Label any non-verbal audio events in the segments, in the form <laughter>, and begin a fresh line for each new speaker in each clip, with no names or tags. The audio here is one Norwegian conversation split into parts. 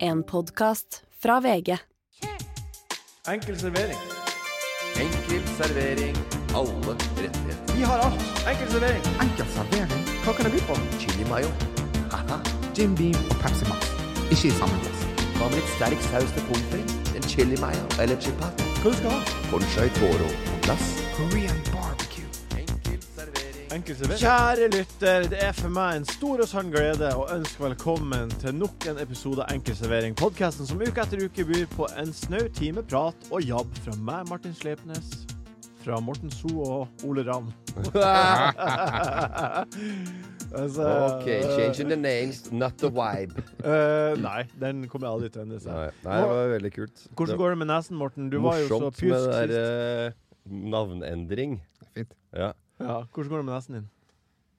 En podkast fra VG.
Enkel servering.
Enkel servering. Alle rettigheter.
Vi har alt. Enkel servering.
Enkel servering,
Hva kan det by på?
Chili mayo. Haha.
Jim Beam og Pepsi Max. Ikke i samme glass.
Hva med litt sterk saus til pommes frites? En chili mayo eller chipat?
Hva du skal ha?
Conchai toro på glass.
Korean barbecue.
Enkel <laughs> servering.
Enkel servering. Kjære lytter, det er for meg en stor og sann glede å ønske velkommen til nok en episode av Enkel servering. Podkasten som uke etter uke byr på en snau time prat og jabb fra meg, Martin Slepnes, fra Morten So og Ole Ramm. <laughs> altså,
Ok, changing the names, not the vibe.
eh, nei, den kommer jeg aldri til å endre seg.
Nei, nei, det var veldig kult.
Hvordan går det med nesen, Morten? Du
det?
var jo så
Morsomt
pjusk
med det
sist.
der eh, navnendring.
Fint.
Ja.
Ja, hvordan går det med nesen din?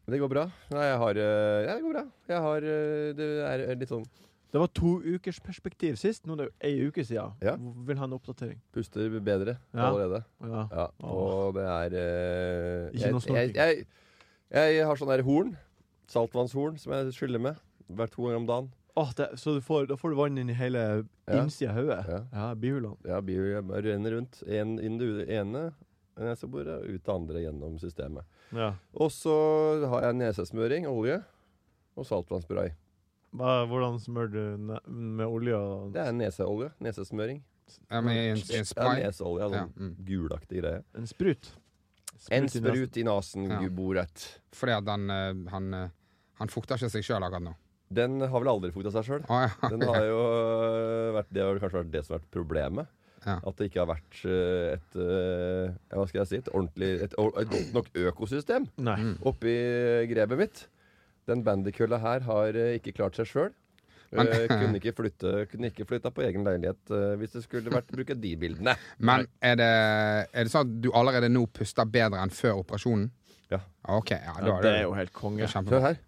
Det går bra. Nei, jeg har eh, Ja, det går bra. Jeg har eh, Det er litt sånn
Det var to ukers perspektiv sist. Nå er det jo ei uke siden.
Ja.
Vil ha en oppdatering.
Puster bedre
Ja.
allerede.
Ja.
Ja. Og det er eh,
Ikke noe
jeg,
snorking.
jeg, jeg, jeg har sånn der horn. Saltvannshorn som jeg skyller med. Hver to ganger om dagen.
Åh, det, så du får, da får du vann inn i hele
Ja.
innsida av hodet?
Ja.
Ja, bihulene.
Ja, bio jeg bare renner rundt. En, inn det ene neseboret, ut det andre gjennom systemet.
Ja.
Og så har jeg nesesmøring, olje og saltvannspray.
Hva- Hvordan smører du ne- med olje og
Det er neseolje. Nesesmøring.
Ja, men en, en
Ja,
spray.
neseolje.
Ja,
Sånn
mm.
gulaktig greie.
en sprut?
En
i nesen.
sprut i nesen,
Ja.
guboret.
Fordi at den, eh, han, eh, han fukter ikke seg sjøl akkurat nå.
Den har vel aldri fukta seg sjøl.
Å, <laughs> ja.
Den har jo øh, vært, det har vel kanskje vært det som har vært problemet.
Ja.
At det ikke har vært øh, et øh, ja, Hva skal jeg si? Et ordentlig Et, or- et godt nok økosystem
Nei.
oppi grepet mitt. Den bandykølla her har øh, ikke klart seg sjøl.
Men-
kunne ikke flytte Kunne ikke flytta på egen leilighet øh, hvis det skulle vært bruke de bildene.
<laughs> Men er det, er det sånn at du allerede nå puster bedre enn før operasjonen? Ah,
Ja.
OK. Ja, da
Ja, det
<laughs>
er jo helt konge.
det er kjempebra.
Hør her.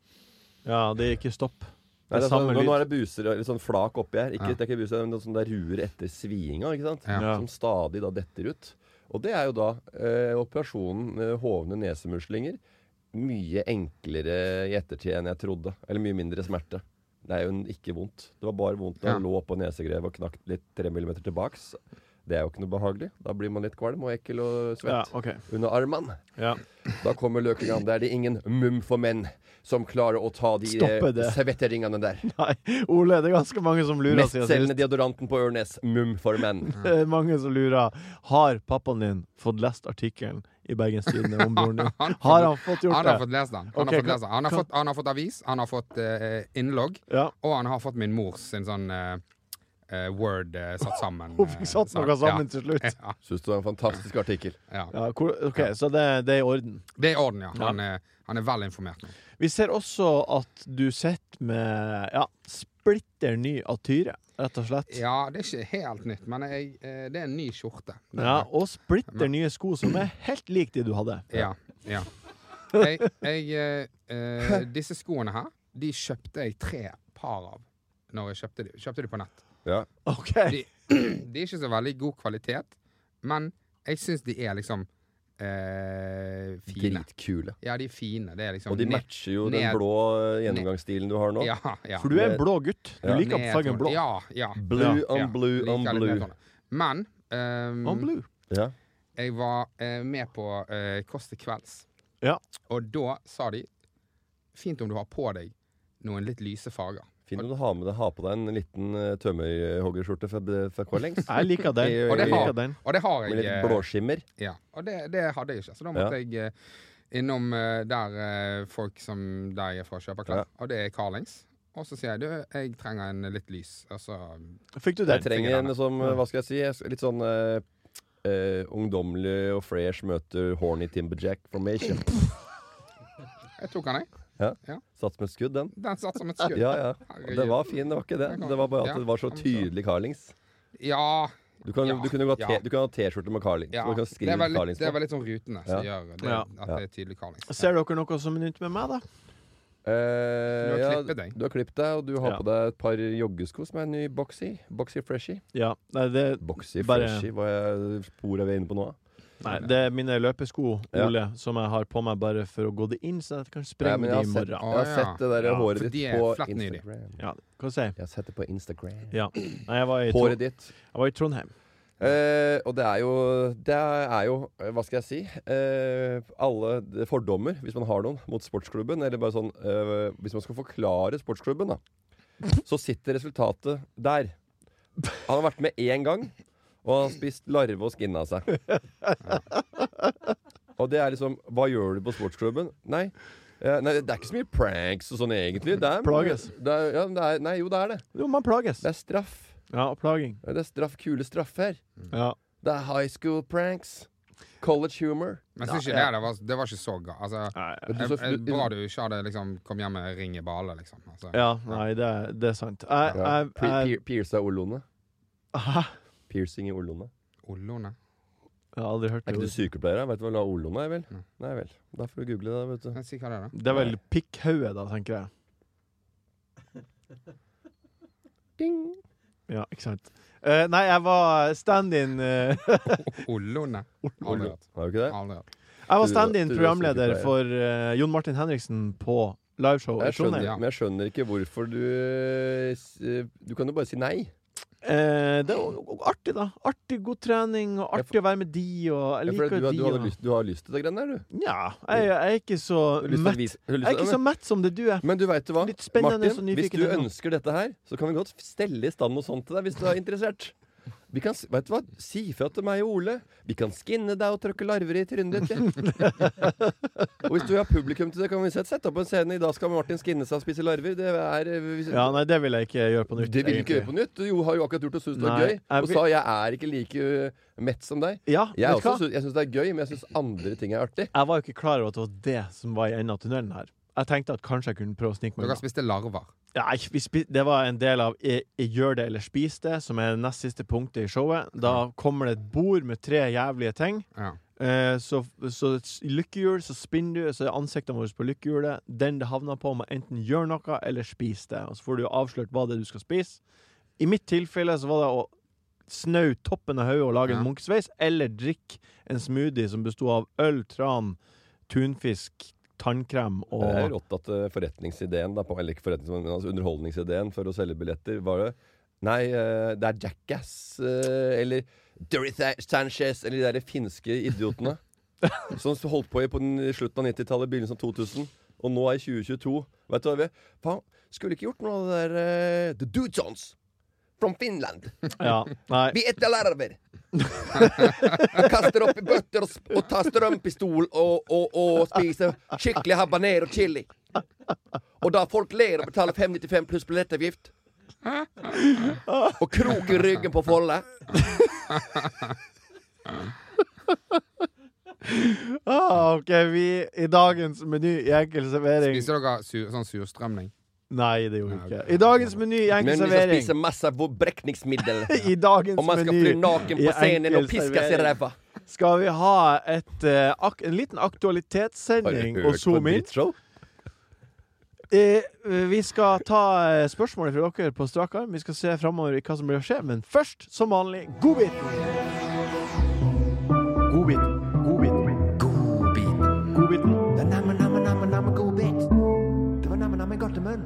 Ja, det er ikke stopp.
Nei, det er sånn,
samme
nå,
lyd.
nå er det buser og litt sånn flak oppi her. Ikke,
Ja.
Det er ikke buser, men det er sånn det er ruer etter svinga, ikke sant?
Ja.
Ja.
Som stadig da detter ut. Og det er jo da eh, operasjonen eh, hovne nesemuslinger mye enklere i ettertid enn jeg trodde. Eller mye mindre smerte. Det er jo en- ikke vondt. Det var bare vondt da
Ja.
jeg lå oppå nesegrevet og knakk litt tre millimeter tilbaks. Det er jo ikke noe behagelig. Da blir man litt kvalm og ekkel og
Ja,
svett
OK.
under armene.
Ja.
Da kommer løkingen. Det er det ingen mum for menn som klarer å ta de eh,
Stoppe det.
svetteringene der.
<laughs> Nei, Ole, det er ganske mange som lurer. siden sist.
Mestselgende deodoranten på Ørnes, Mum for menn.
Det er mange som lurer. Har pappaen din fått lest artikkelen i Bergens Tidende om broren din? Har han fått gjort
Han har
det?
fått lest den. Han,
Ok,
har, fått
kan-
lest den. han, har,
kan-
fått, han har fått avis, han har fått eh, innlogg,
Ja.
og han har fått min mors sin sånn eh, eh, Word eh, satt
<laughs>
sammen.
Hun fikk satt
eh,
noe
sak.
sammen til slutt.
Ja,
Syns du det var en fantastisk artikkel?
ja, ja.
Ja, hvor, OK, så det, det er i orden.
Det er i orden, ja. Han er, han er vel informert nå.
Vi ser også at du sitter med ja, splitter ny atyre, rett og slett. Ja.
Ja, det er ikke helt nytt, men jeg, eh, det er en ny skjorte. Det er det.
og splitter nye sko som er helt lik de du hadde.
ja, ja. Jeg, jeg, eh, eh, disse skoene her, de kjøpte jeg tre par av når jeg kjøpte de, kjøpte de på nett.
Ja.
<laughs> OK.
De, de er ikke så veldig god kvalitet, men jeg syns de er liksom eh, fine.
Dritkule.
Ja, de er fine. Det er liksom
Og de
ned-
matcher jo den
ned-
blå eh, gjennomgangsstilen du har nå.
Ja, ja.
For du er en blå gutt. Du
Ja.
liker
Ned-
fargen blå.
Ja, ja.
Blue
Ja,
on
ja.
blue
Liker
on
litt
blue.
nedtonet. Men ehm,
Og blue.
Ja.
jeg var eh, med på eh, Kåss til kvelds,
Ja.
og da sa de Fint om du har på deg noen litt lyse farger.
Fint om du har med deg ha på deg en liten eh, tømmerhoggerskjorte fra, fra Corlings.
Jeg liker den.
Jeg-
Og det
Jeg
har,
liker den.
og det har jeg.
Med litt
eh,
blåskimmer.
Ja, og det, det hadde jeg ikke. Så da måtte jeg eh, innom eh, der eh, folk som der jeg er fra kjøper klær,
Ja.
og det er Carlings. Og så sier jeg du, jeg trenger en litt lys. Og så
Fikk du
Jeg
den?
trenger en
fingrene.
som, eh, hva skal jeg si, jeg sk- litt sånn eh, eh, ungdommelig og fresh møter horny Timberjack formation.
jeg tok den, jeg.
Sats med skudd, den.
Den satt som et skudd.
Ja, ja. Det var fin, det var ikke det. Det var bare at det var så tydelig Carlings.
Ja,
Du kan,
Ja,
du kunne gå te,
ja.
du kan ha T-skjorte med Carling.
ja.
Så du kan
Det
skrive
var litt,
Carlings
det var
på.
litt sånn rutene som gjør det,
Ja.
at det er tydelig Carlings.
Ser dere noe som er nytt med meg, da?
Eh,
Du har
ja,
klippet deg.
Du har klippet deg, og du har
Ja.
på deg et par joggesko som er en ny Boxy. Boxy Freshy.
Ja. Nei, det
Boxy
Bare-
Freshy, hva er sporet vi er inne på nå?
Nei, det er mine løpesko,
Ja.
Ole, som jeg har på meg bare for å gå det inn, så jeg kan
Nei,
sprenge
men
det
jeg
i
har
morgen.
sett, jeg har
Å, ja.
sett det der
Ja,
håret
for
ditt
de er
på
flatt nylig.
Instagram.
Ja, hva sier jeg?
Jeg har sett det på Instagram.
Ja. Nei, jeg var i, Tro
Håret ditt.
jeg var i Trondheim.
Eh, og det er jo Det er jo eh, Hva skal jeg si? Eh, alle d- fordommer, hvis man har noen, mot sportsklubben. Eller bare sånn eh, Hvis man skal forklare sportsklubben, da. Så sitter resultatet der. Han har vært med én gang, og han har spist larve og skinna seg. Og det er liksom Hva gjør du på sportsklubben? Nei. eh, nei, det er ikke så mye pranks og sånn egentlig. Det er,
Plages.
Det er, ja, men det er, nei, jo, det er det.
Jo, man plages.
Det er straff.
Ja, plaging.
Det er straff, kule straffer.
Ja.
Det er high school pranks. College humor.
Men jeg synes ikke det, det, var, det var ikke så ga. Altså,
Nei,
Du
jeg,
så-
jeg,
du-
bra du ikke hadde liksom kom hjem med ring i bale, liksom. Altså.
ja, nei det, er- det er sant. Jeg,
Ja.
jeg,
Pi-
jeg, <laughs>
pi- Pierce av orlene.
Hæ?
Piercing i orlene.
Ollone.
jeg har aldri hørt
Er ikke du
det.
sykepleier? Vet du hva la orlene er, vel?
Mm.
Nei.
Nei vel. Da får du google det, vet du.
Kan jeg Si hva det er, da.
Det er vel pikkhauge, da, tenker jeg.
<laughs> Ding!
Ja, ikke sant. Eh, nei, jeg var stand-in eh, <laughs>
Ollone. Aldri hørt.
Har du ikke det?
Aldri hørt.
Jeg var
Du-
stand-in
du er
programleder
sykepleier.
for eh, Jon Martin Henriksen på liveshow i
Jeg skjønner,
Trondheim.
ja.
men jeg skjønner ikke hvorfor du eh, s- Du kan jo bare si nei.
Eh, det var o- o- artig, da. Artig, god trening, og
Ja,
artig å være med de, og jeg
Ja, for
liker
du,
jo de.
du, hadde
og-
lyst, du har lyst til det greiene der, du.
Nja, jeg, jeg er ikke så
Du har lyst til å
mett.
vise- du har lyst
Jeg er
til-
ikke så mett som det du er.
Men du veit du hva,
Litt spennende og
Martin. Hvis
nyfiken
du
ennå.
ønsker dette her, så kan vi godt stelle i stand noe sånt til deg hvis du er interessert. Vi kan, s- vet du hva, Si fra til meg og Ole. Vi kan skinne deg og trykke larver i trynet ditt. ja.
<laughs>
og hvis du har publikum til det, kan vi sette, sette opp en scene. I dag skal Martin skinne seg og spise larver. Det er eh, hvis,
Ja, nei, det vil jeg ikke gjøre på nytt.
Det vil du ikke
egentlig.
gjøre på nytt. Du jo- har jo akkurat gjort det og syntes det
Nei,
var gøy.
jeg
Og
vil-
sa 'jeg er ikke like eh, mett som deg'.
Ja,
Jeg,
vet du
også
hva?
sy- jeg syns det er gøy, men jeg syns andre ting er artig.
Jeg var jo ikke klar over at det var det som var i enden av tunnelen her. Jeg tenkte at kanskje jeg kunne prøve å snike meg unna.
Dere spiste larver.
Nei, vi spi det var en del av i- i Gjør det eller spis det, som er nest siste punktet i showet. Da kommer det et bord med tre jævlige ting.
Ja.
Eh, så, så s- lykkehjul, så spinner du, så er ansiktene våre på lykkehjulet. Den det havner på, må enten gjøre noe eller spise det. Og så får du avslørt hva det er du skal spise. I mitt tilfelle så var det å snau toppen av hodet og lage en
Ja.
munkesveis, eller drikke en smoothie som besto av øl, tran, tunfisk, tannkrem og
Det er rått at eh, forretningsideen, da, på, eller ikke forretnings, men altså underholdningsideen for å selge billetter, var det Nei, eh, det er Jackass eh, eller Dirty Tha- Sanchez eller de der finske idiotene. som holdt på i på den slutten av 90-tallet, begynnelsen av 2000. Og nå er i 2022. Vet du hva vi Faen, skulle ikke gjort noe av det der eh, The Dudesons from Finland.
Ja, nei.
Vi etter larver. Kaster opp i bøtter og, sp- og tar strømpistol og, og, og spiser skikkelig habanero chili. Og da folk ler og betaler 595 pluss billettavgift. Og krok i ryggen på Folle.
Ah, ok, vi i dagens meny i enkel servering
Spiste dere sur, sånn surstrømning?
Nei, det gjorde vi
Nei,
ikke.
ok.
I dagens meny i enkel
Men vi skal
servering
spise masse
<laughs>
brekningsmiddel.
I dagens
Og man skal fly
meny
naken på
i
scenen og
enkel
piskes i
servering.
ræva.
skal vi ha et, eh, ak en liten aktualitetssending og zoom inn. Eh, vi skal ta eh, spørsmålet fra dere på strak arm. Vi skal se framover i hva som blir å skje, men først, som vanlig, godbiten. Godbiten. Godbiten. Godbiten.
Det er namme, namme, namme, namme godbit. Det var namme, namme godtemunn.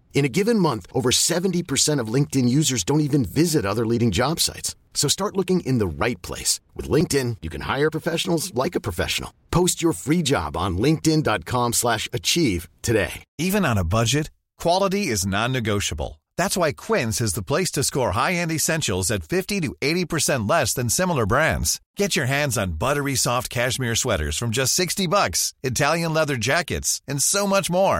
In a given month, over 70% of LinkedIn users don't even visit other leading job sites. So start looking in the right place. With LinkedIn, you can hire professionals like a professional. Post your free job on linkedin.com/achieve slash achieve today.
Even on a budget, quality is non-negotiable. That's why Quince is the place to score high-end essentials at 50 to 80% less than similar brands. Get your hands on buttery soft cashmere sweaters from just 60 bucks, Italian leather jackets, and so much more.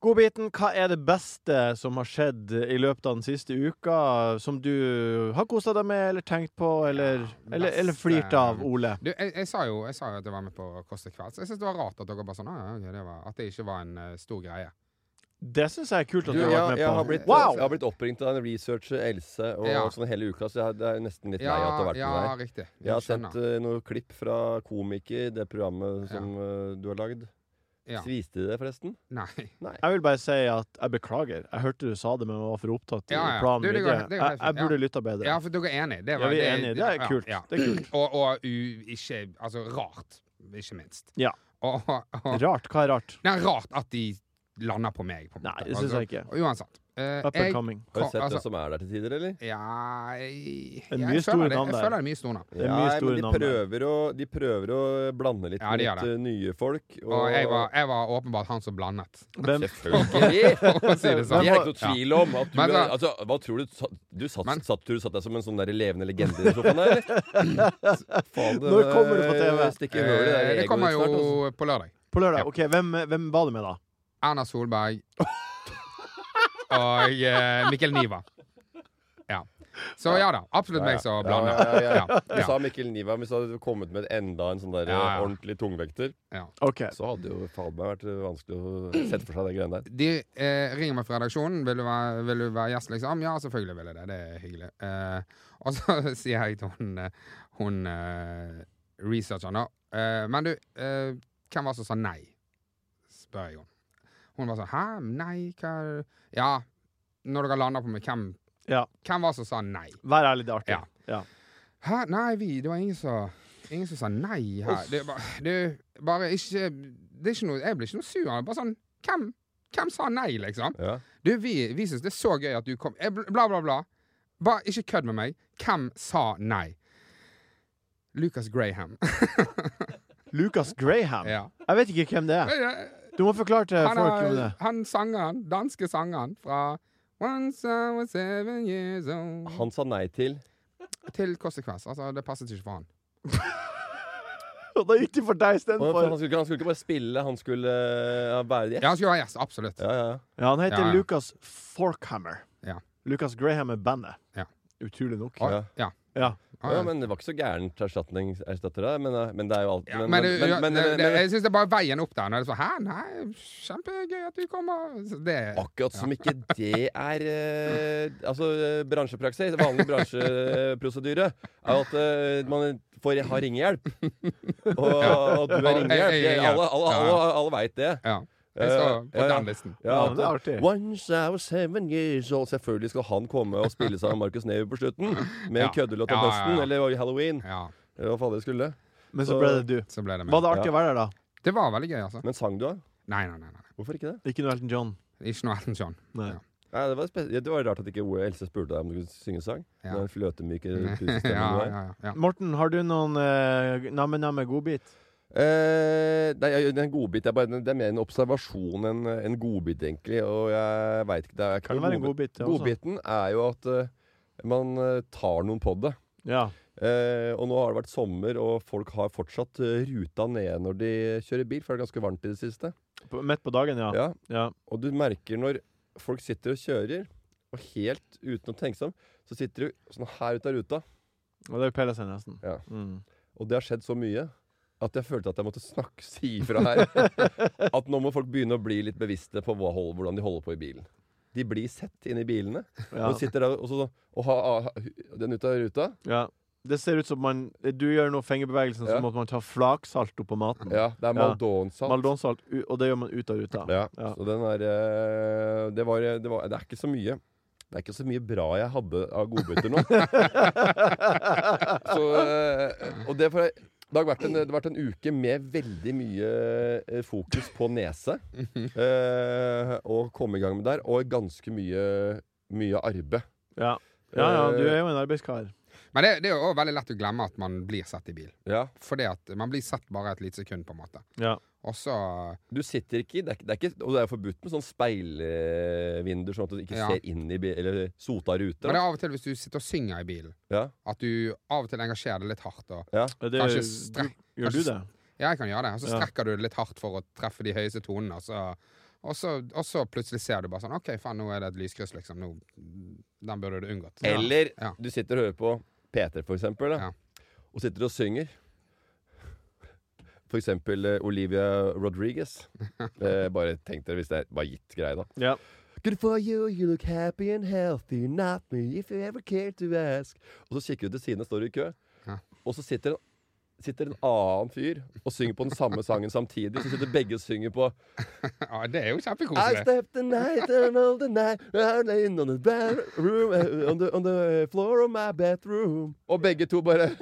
Godbiten, hva er det beste som har skjedd i løpet av den siste uka, som du har kosa deg med, eller tenkt på, eller,
Ja,
eller, eller
beste-
flirt av, Ole?
Du, jeg, jeg sa jo jeg sa jo at jeg var med på Kåss til kvelds. Jeg syns det var rart at dere bare sånn, «Ah, ja, ok, det var, at det ikke var en eh, stor greie.
Det syns jeg er kult at du,
Du,
har
jeg,
vært med
jeg,
på.
har blitt,
wow!
jeg har blitt oppringt av en researcher, Else, og
Ja.
sånn hele uka, så jeg, det er nesten litt lei av
Ja,
at det har vært
ja,
med deg.
riktig.
Jeg har
skjønner.
sendt eh, noen klipp fra Komiker, det programmet som eh, du har lagd.
Ja.
Sviste de det, forresten?
Nei.
Jeg vil bare si at jeg beklager. Jeg hørte du sa det, men jeg var for opptatt. i
Ja, ja.
planen
Du, det går-
videre.
det går
jeg,
helt
jeg
fint,
burde
ja.
lytta bedre.
Ja, for dere er enige. Det
Ja, vi er enige. Det er kult. Det er kult.
Og, og u, ikke Altså, rart, ikke minst.
Ja.
Og, og, og,
Rart. Hva er rart?
nei, rart at de lander på meg, på en
Nei,
måte.
det syns
Altså,
jeg ikke.
og Uansett. eh,
Up and
jeg,
coming.
Har du
Kom,
sett
altså-
hvem som er der til tider, eller?
ja, jeg,
En
jeg
mye store
føler det.
navn
Jeg
der.
føler det er mye store navn.
Det er mye
Nei, men
store
de
navn der.
prøver, å, de prøver å blande litt
Ja, de
mot
gjør det.
eh, nye folk. Og,
Og jeg
<laughs>
var, jeg var åpenbart han som blandet.
<laughs> Hvem,
Selvfølgelig!
<laughs> For å si det
Det
sånn.
er ikke noe tvil om. At du,
Men
er,
da-
altså, hva tror du sa- Du satt,
Men-
satt, tror du satt deg som en sånn der levende legende i den sofaen der, eller?
<laughs>
Faen,
Når kommer det på TV?
Stikker hull i det
Eh,
der
Det
egoet
kommer
snart, altså.
jo på lørdag.
på
Ja.
lørdag. Ok, hvem, hvem var du med, da?
Erna Solberg og eh, Mikkel Niva. Ja. Så ja da, absolutt meg som
Ja,
blander.
ja, ja, ja.
Ja,
Du
ja.
sa Mikkel Niva, men hvis du hadde kommet med enda en sånn der
Ja, ja.
ordentlig tungvekter,
Ok,
så hadde jo faen meg vært eh, vanskelig å sette for seg de greiene der.
De eh, ringer meg fra redaksjonen. Vil du, være, 'Vil du være gjest', liksom? Ja, selvfølgelig vil jeg det. Det er hyggelig. Eh, og så <laughs> sier jeg til hun, eh, hun eh, researcheren, da. Eh, men du, eh, hvem var det som sa nei? spør jeg henne. Hun var sånn 'hæ, nei, hva er det?» Ja, når dere lander på meg, hvem,
Ja.
hvem var det som sa nei?
Vær ærlig, det er artig.
Ja. Hæ? Nei, vi, det var ingen som Ingen som sa nei her. Det, er ba, det er bare ikke Det er ikke noe Jeg blir ikke noe sur. av det. Bare sånn Hvem? Hvem sa nei, liksom?
Ja.
Du, vi, vi syns det er så gøy at du kom eh, bl- Bla, bla, bla. Bare ikke kødd med meg. Hvem sa nei? Lucas Graham. <laughs>
Lucas Graham.
ja.
Jeg vet ikke hvem det er. Du må forklare til
Han,
folk om
er,
det. <laughs>
han sangeren, danske sangeren fra Once I was seven years old
Han sa nei til
Til Kåss til kvelds. Altså, det passet ikke for han.
Og da gikk de for deg
Og for han,
istedenfor.
skulle, ikke- han skulle ikke bare spille, han skulle eh, være gjest.
Ja, han skulle være gjest. Absolutt.
Ja, ja.
Ja, han heter
Ja, ja.
Lucas Forkhammer.
Ja.
Lucas Graham er bandet.
Ja.
Utrolig nok.
Og-
Ja.
ja.
Ja.
Ja, ja, men det var ikke så gærent erstatning erstatter det, men, eh, men det er jo alt
Ja, men, det- ja, det- det- jeg syns det er bare veien opp der. Når det er sånn, Hæ, nei, kjempegøy at du kommer. Så Det,
Akkurat som ikke det er eh, altså, eh, bransjepraksis, vanlig bransjeprosedyre, er jo at eh, man får ha ringehjelp. Og at du er
Jeg-
ringehjelp.
jeg er
Det- Alle, alle,
Ja,
alle,
ja.
alle veit det.
ja. Jeg står på
Eh, ja, ja.
den listen.
Ja,
at,
det er artig.
Once I was seven years old Selvfølgelig skal han komme og spille sammen med Markus Neby på slutten. Med
Ja.
en køddelåt om
Ja, ja,
høsten
ja.
eller Halloween.
Ja,
Eller hva fader jeg skulle.
Men så
Så-
ble det du.
så ble det
Var
meg.
det artig å være der, da?
Det var veldig gøy, altså.
Men sang du, da?
Nei, nei, nei. nei.
Hvorfor ikke det?
Ikke noe Elton John.
Ikke noe Elton John.
Nei.
Ja.
Nei, det, var spe- det var rart at ikke Else E spurte deg om du kunne synge sang.
Ja.
Den fløtemyke
<laughs> ja,
pusestemmen du
ja,
har.
ja, ja.
Morten, har du noen uh, namme-namme godbit?
Eh, nei, jeg- det er en godbit. Det er, bare, det er mer en observasjon enn en godbit, egentlig. Og jeg veit ikke det er,
Kan det være en godbit, altså. det også?
Godbiten er jo at eh, man eh, tar noen på det.
Ja.
Eh, og nå har det vært sommer, og folk har fortsatt eh, ruta nede når de kjører bil, for det er ganske varmt i det siste.
På, midt på dagen, ja.
Ja.
Ja.
Og du merker når folk sitter og kjører, og helt uten å tenke seg om, så sitter du sånn her ute av ruta.
Og det er Pelle seg nesten.
Ja.
Mm.
Og det har skjedd så mye at jeg følte at jeg måtte snakke si
<laughs>
ifra her. at nå må folk begynne å bli litt bevisste på hva, hold- hvordan de holder på i bilen. De blir sett inne i bilene.
Ja.
<laughs> Og sitter der og, så, og har ah, den ut av ruta.
ja. Det ser ut som man Du gjør nå fingerbevegelsen
Ja.
som at man tar flaksalt oppå maten.
Ja, det er
Mm. Ja.
Maldonsalt.
Maldonsalt, u- og det gjør man ut av ruta.
Ja.
Ja.
Så den er eh, det, var, det, var, det er ikke så mye. Det er ikke så mye bra jeg hadde av godbiter
<laughs>
nå. så, eh, og det, er for, det har vært en, det har vært en uke med veldig mye eh, fokus på nese. eh, og komme i gang med der. Og ganske mye, mye arbeid.
Ja. ja, ja, du er jo en arbeidskar.
Men det, det er jo også veldig lett å glemme at man blir sett i bil.
Eh, Ja.
Fordi at man blir sett bare et lite sekund, på en måte.
Ja.
Og så
Du sitter ikke i det er, ikke- det er ikke, Og det er jo forbudt med sånn speilvinduer, sånn at du ikke
Ja.
ser inn i bil, eller sota
Men det
ruter.
er av og til hvis du sitter og synger i bilen,
Ja.
at du av og til engasjerer deg litt hardt. Og,
Ja.
Det, er-
Kanskje strek-
Gjør du det?
ja, jeg kan gjøre det. Og så
Ja.
strekker du det litt hardt for å treffe de høyeste tonene, og så Og så, og så plutselig ser du bare sånn OK, faen, nå er det et lyskryss, liksom. Nå, den burde du unngått.
Eller
Ja.
du sitter og hører på P3, for eksempel, da,
Ja.
og sitter og synger. For eksempel eh, Olivia Rodriguez.
<laughs>
Eh, bare tenk dere hvis det er bare gitt greie, da.
Ja.
Good for you, you look happy and healthy, not me if you ever care to ask. Og så kikker du til siden og står i kø.
Ja.
Og så sitter en, sitter en annen fyr og synger på den samme sangen samtidig. Så sitter begge og synger på
Ja, det er jo
I
kjempekoselig.
slept the night and all the night I lay in on the bedroom uh, on the, on the floor of my bedroom. Og begge to bare <laughs>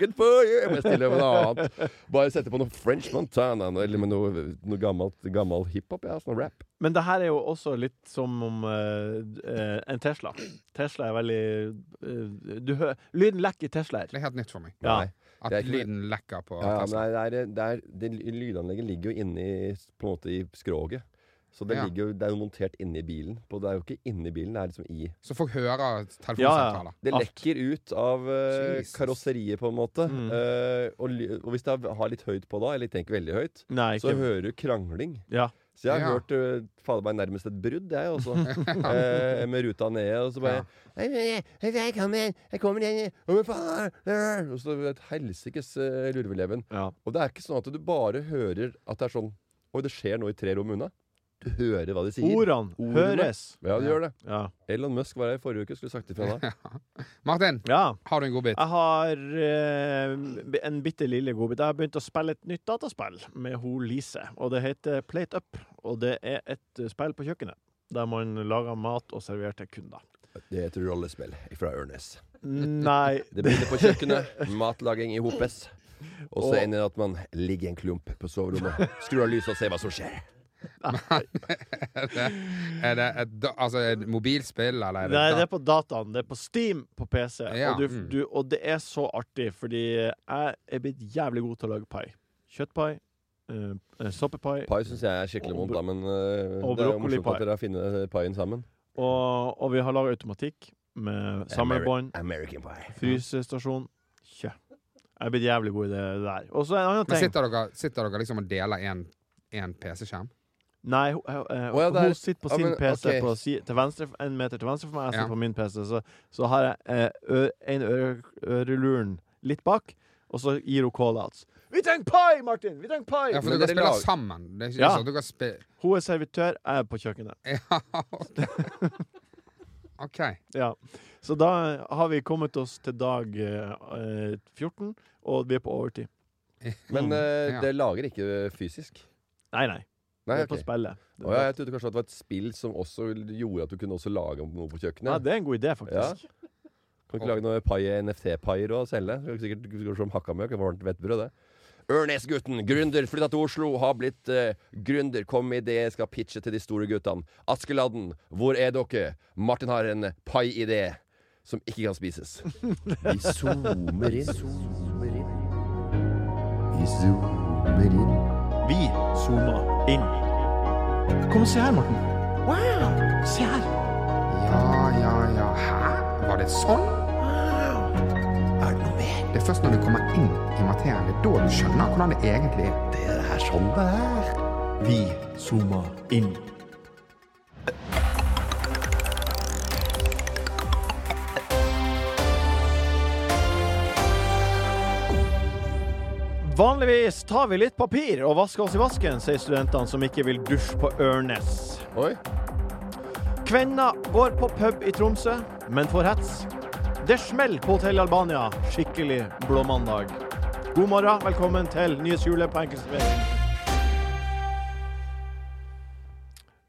Good for you! Jeg bare stiller med noe annet. Bare setter på noe French Montana eller med noe, noe gammelt, gammel hiphop. Ja, sånn rap.
Men det her er jo også litt som om eh, eh, en Tesla. Tesla er veldig eh, du hø Lyden lekker i Teslaer.
Det er helt nytt for meg.
Ja.
Nei.
At
det er ikke-
lyden lekker på
Ja, ja,
Tesla.
men det er, det er, det ly- lydanlegget ligger jo inne i, på en måte i skroget. Så det,
Ja.
ligger jo, det er jo montert inni bilen. På, det er jo ikke inni bilen, det er liksom i
Så folk hører
Ja,
telefonsamtaler.
Det
Alt.
lekker ut av eh,
Jesus.
karosseriet, på en måte. Eh, og, ly- og hvis jeg har litt høyt på da, eller tenker veldig høyt,
Nei,
så
ikke
hører du krangling.
Ja.
Så jeg har
Ja.
hørt eh, fader meg nærmest et brudd, jeg også. Eh, med ruta nede, og så bare «Hei, hei, Jeg kommer, jeg kommer igjen, og faen, øh!» Og så et helsikes eh, lurveleven.
ja.
Og det er ikke sånn at du bare hører at det er sånn Oi, det skjer noe i tre rom unna. Du hører hva de sier.
Ordene
Ordene.
høres.
Ja, du gjør det.
Ja.
Elon Musk var her i forrige uke, skulle sagt ifra da.
Martin,
ja.
har du en god bit?
Jeg har eh, en bitte lille godbit. Jeg har begynt å spille et nytt dataspill med ho Lise. Og det heter Plate Up. Og det er et spill på kjøkkenet der man lager mat og serverer til kunder.
Det heter rollespill fra Ørnes.
Nei
Det begynner på kjøkkenet, matlaging i hopes. Og så
Og-
ender det at man ligger i en klump på soverommet, skrur av lyset og ser hva som skjer.
Er det et, da- altså, et mobilspill, eller er det,
Nei, det
da-
er på dataen. Det er på Steam på PC.
Ja,
Og, du,
mm.
du, og det er så artig, fordi jeg er blitt jævlig god til å lage pai. Kjøttpai, eh, eh, soppepai og,
Pai syns jeg er skikkelig vondt, da, men øh,
Og
det er jo
broccoli
morsomt
pie.
at dere har funnet eh, paien sammen.
og vi har laga automatikk med samlebånd,
American pie.
frysestasjon, kjø. Jeg er blitt jævlig god i det der. Og så en annen
Men
ting.
sitter dere, sitter dere liksom og deler en, en PC-skjerm?
Nei, hun, eh,
Å, ja, det er-
hun sitter på
ja,
sin
men,
PC
ok.
på si, til venstre, en meter til venstre for meg. Jeg sitter
Ja.
på min PC. Så, så har jeg eh, ø, en øre, øreluren litt bak, og så gir hun call-outs. Vi trenger pai, Martin! Vi trenger pai!
Ja, for
Men
dere
dere
spiller
lag-
sammen. Det er ikke
Ja.
sånn at dere spiller
Hun er servitør, jeg er på kjøkkenet.
Ja, OK.
Ja. Så da har vi kommet oss til dag eh, eh, 14, og vi er på overtid.
Men øh,
Ja.
det lager ikke fysisk.
Nei, nei. Vi
Nei,
Mm, er på
ok.
spillet.
Å, ja, jeg trodde kanskje at det var et spill som også gjorde at du kunne også lage noe på
ja,
kjøkkenet.
det er en god idé, faktisk.
Kan ikke lage noe pai, NFT-paier og selge. Skal ikke sikkert gå som hakkamøkk. Varmt hvetebrød, det. Ørnes-gutten, gründer, flytta til Oslo, har blitt eh, gründer. Kom med idé, skal pitche til de store guttene. Askeladden, hvor er dere? Martin har en pai-idé som ikke kan spises. Vi zoomer inn. Vi zoomer inn.
Vi zoomer inn. Kom og se her, Morten. Wow! Se her.
Ja, ja, ja. Hæ? Var det sånn?
Er det noe mer?
Det er først når du kommer inn i materien, det er da du skjønner hvordan det egentlig er.
Det er det her sånn det er.
Vi zoomer inn. Vanligvis tar vi litt papir og vasker oss i vasken, sier studentene som ikke vil dusje på Ørnes.
Oi.
Kvenna går på pub i Tromsø, men får hets. Det smeller på Hotell Albania. Skikkelig blåmandag. God morgen, velkommen til Nyhetshjulet på Enkeltservering.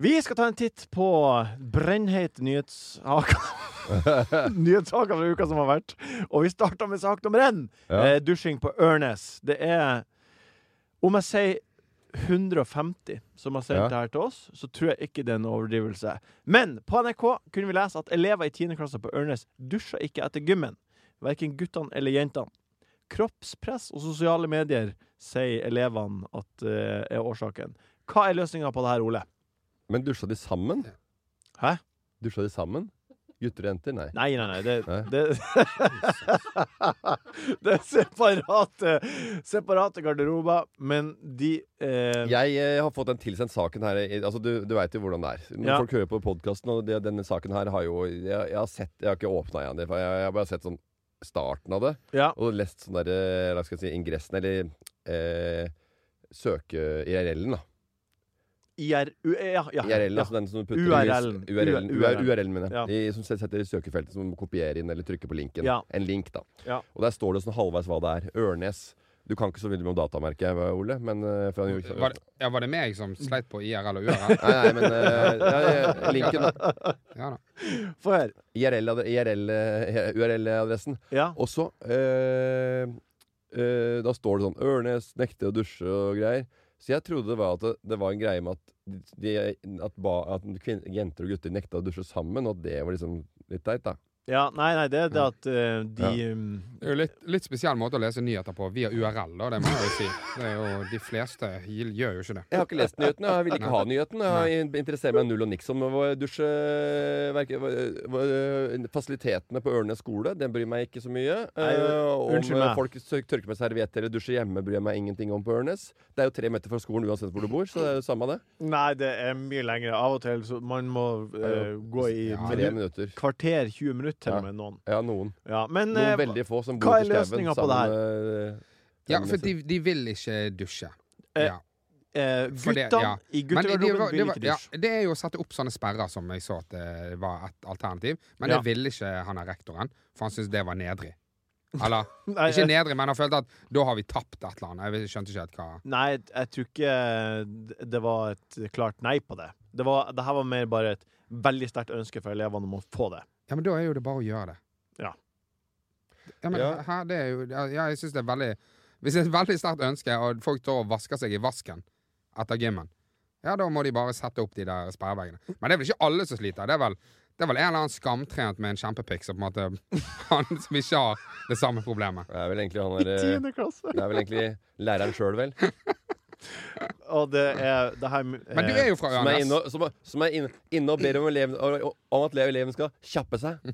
Vi skal ta en titt på brennheit nyhetshaka Nyhetshaka fra uka som har vært. Og vi starter med sak nummer én.
Ja.
Eh, dusjing på Ørnes. Det er Om jeg sier 150 som har sendt
Ja.
det her til oss, så tror jeg ikke det er en overdrivelse. Men på NRK kunne vi lese at elever i 10. klasse på Ørnes dusjer ikke etter gymmen. Verken guttene eller jentene. Kroppspress og sosiale medier sier elevene at eh, er årsaken. Hva er løsninga på det her, Ole?
Men dusja de sammen?
Hæ?
Dusja de sammen? Gutter og jenter? Nei.
Nei, nei, nei. Det,
Nei.
det, <laughs> det er separate, separate garderober, men de eh,
Jeg eh, har fått den tilsendt saken her. i- Altså, du du veit jo hvordan det er. Når
Ja.
folk hører på podkasten, og det, denne saken her har jo Jeg, jeg har sett Jeg har ikke åpna igjen det, for jeg, jeg har bare sett sånn starten av det.
Ja.
Og lest sånn derre Hva skal jeg si Ingressen, eller eh, søke IRL-en, da.
IR, u, E, ja, ja,
IRL,
ja.
altså den som du putter
URL-en.
i URL-en,
URL-en,
URL-en mener jeg.
Ja.
I, som setter i søkefeltet, som kopierer inn eller trykker på linken.
Ja.
En link, da.
Ja.
Og der står det sånn halvveis hva det er. Ørnes. Du kan ikke så veldig mye om datamerket, Ole, men eh, for han,
Var det, ja, var det meg som sleit på IRL
<laughs>
og URL?
Nei, nei, men eh, ja, ja, linken, da.
Ja da.
Få høre.
IRL-adre- IRL, eh, URL-adressen.
Ja.
Og så eh, eh, Da står det sånn 'Ørnes nekter å dusje' og greier. Så jeg trodde det var at det, det var en greie med at, de, at, ba, at kvin- jenter og gutter nekta å dusje sammen, og at det var liksom litt teit, da.
ja. Nei, nei, det er det at eh, de um,
Det er jo litt, litt spesiell måte å lese nyheter på via URL, da. Det må jeg jo si. Det er jo, de fleste gjør jo ikke det.
Jeg har ikke lest nyhetene, og jeg vil ikke ha nyhetene. Jeg interesserer meg null og niks om å dusje verke, hva- hva- Fasilitetene på Ørnes skole, den bryr meg ikke så mye.
Nei,
Eh,
unnskyld
om eh,
meg.
folk sø- tørker med servietter eller dusjer hjemme, bryr jeg meg ingenting om på Ørnes. Det er jo tre meter fra skolen uansett hvor du bor, så det er jo samme det.
Nei, det er mye lengre. Av og til så man må eh, gå i
Ja,
minu-
Tre minutter.
kvarter, 20 minutter til
Ja.
og med noen.
Ja, noen.
Ja, men
Noen
eh,
veldig få som
hva
bor
er
i
løsningen
skauen.
på det her?
sammen, eh,
Ja,
sammen
for
med sin-
de, de vil ikke dusje.
Eh,
Ja.
eh,
For det-
guttene
ja.
i
Men det- det var-
guttegarderoben
det
vil
var-
ikke
ja,
dusje.
det er jo å sette opp sånne sperrer, som jeg så at det var et alternativ. Men
Ja.
det ville ikke han her rektoren, for han syntes det
<laughs>
var nedrig. Eller
Nei, jeg,
ikke nedrig, men han følte at da har vi tapt et eller annet. Jeg skjønte ikke helt hva
nei, jeg tror ikke eh, det var et klart nei på det. Det, var, det her var mer bare et veldig sterkt ønske fra elevene om å få det.
Ja, men da er jo det bare å gjøre det.
Ja.
Ja, men
Ja.
Her, det er jo ja, ja, jeg syns det er veldig Hvis det er et veldig sterkt ønske, og folk tør å vaske seg i vasken etter gymmen, ja, da må de bare sette opp de der sperreveggene. Men det er vel ikke alle som sliter. Det er vel, det er vel en eller annen skamtrent med en kjempepikk som på en måte <laughs> Han som ikke har det samme problemet.
Det er vel egentlig han der, eh,
Tiende klasse!
Det er vel egentlig læreren sjøl, vel.
Og det er det her eh,
Men du er jo fra
Som er inne
Ørnes.
og, som, som er inne, inne og ber om, eleven, og- om at eleven skal kjappe seg.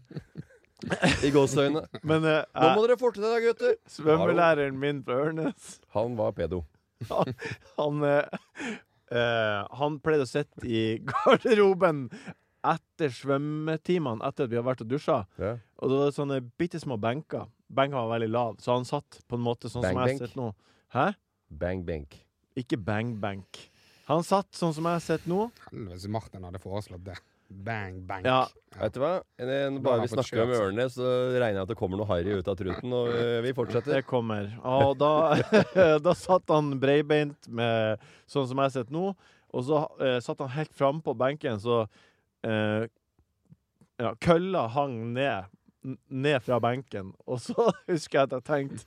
I gåseøynene.
men, eh,
Nå må dere forte dere, gutter!
svømmelæreren min fra Ørnes
Han var pedo.
han, han, eh, eh, han pleide å sitte i garderoben etter svømmetimene, etter at vi har vært og dusja.
Ja.
Og det var sånne bitte små benker. Benkene var veldig lave, så han satt på en måte sånn som jeg
Bang-benk?
sitter nå. Hæ?
Bang bank.
Ikke bang-benk. Han satt sånn som jeg sitter nå.
Helvete, så Martin hadde foreslått det. Bang, bang.
Ja.
Vet du hva? Eh, Når
Da
bare vi
har jeg fått
snakker om
kjørt.
ørene, så regner jeg at det kommer noe harry ut av truten, og eh, vi fortsetter.
Det kommer.
<laughs>
Og da, <laughs> da satt han breibeint med sånn som jeg sitter nå, og så eh, satt han helt framme på benken, så eh, ja, kølla hang ned. n- Ned fra benken. Og så <laughs> husker jeg at jeg tenkte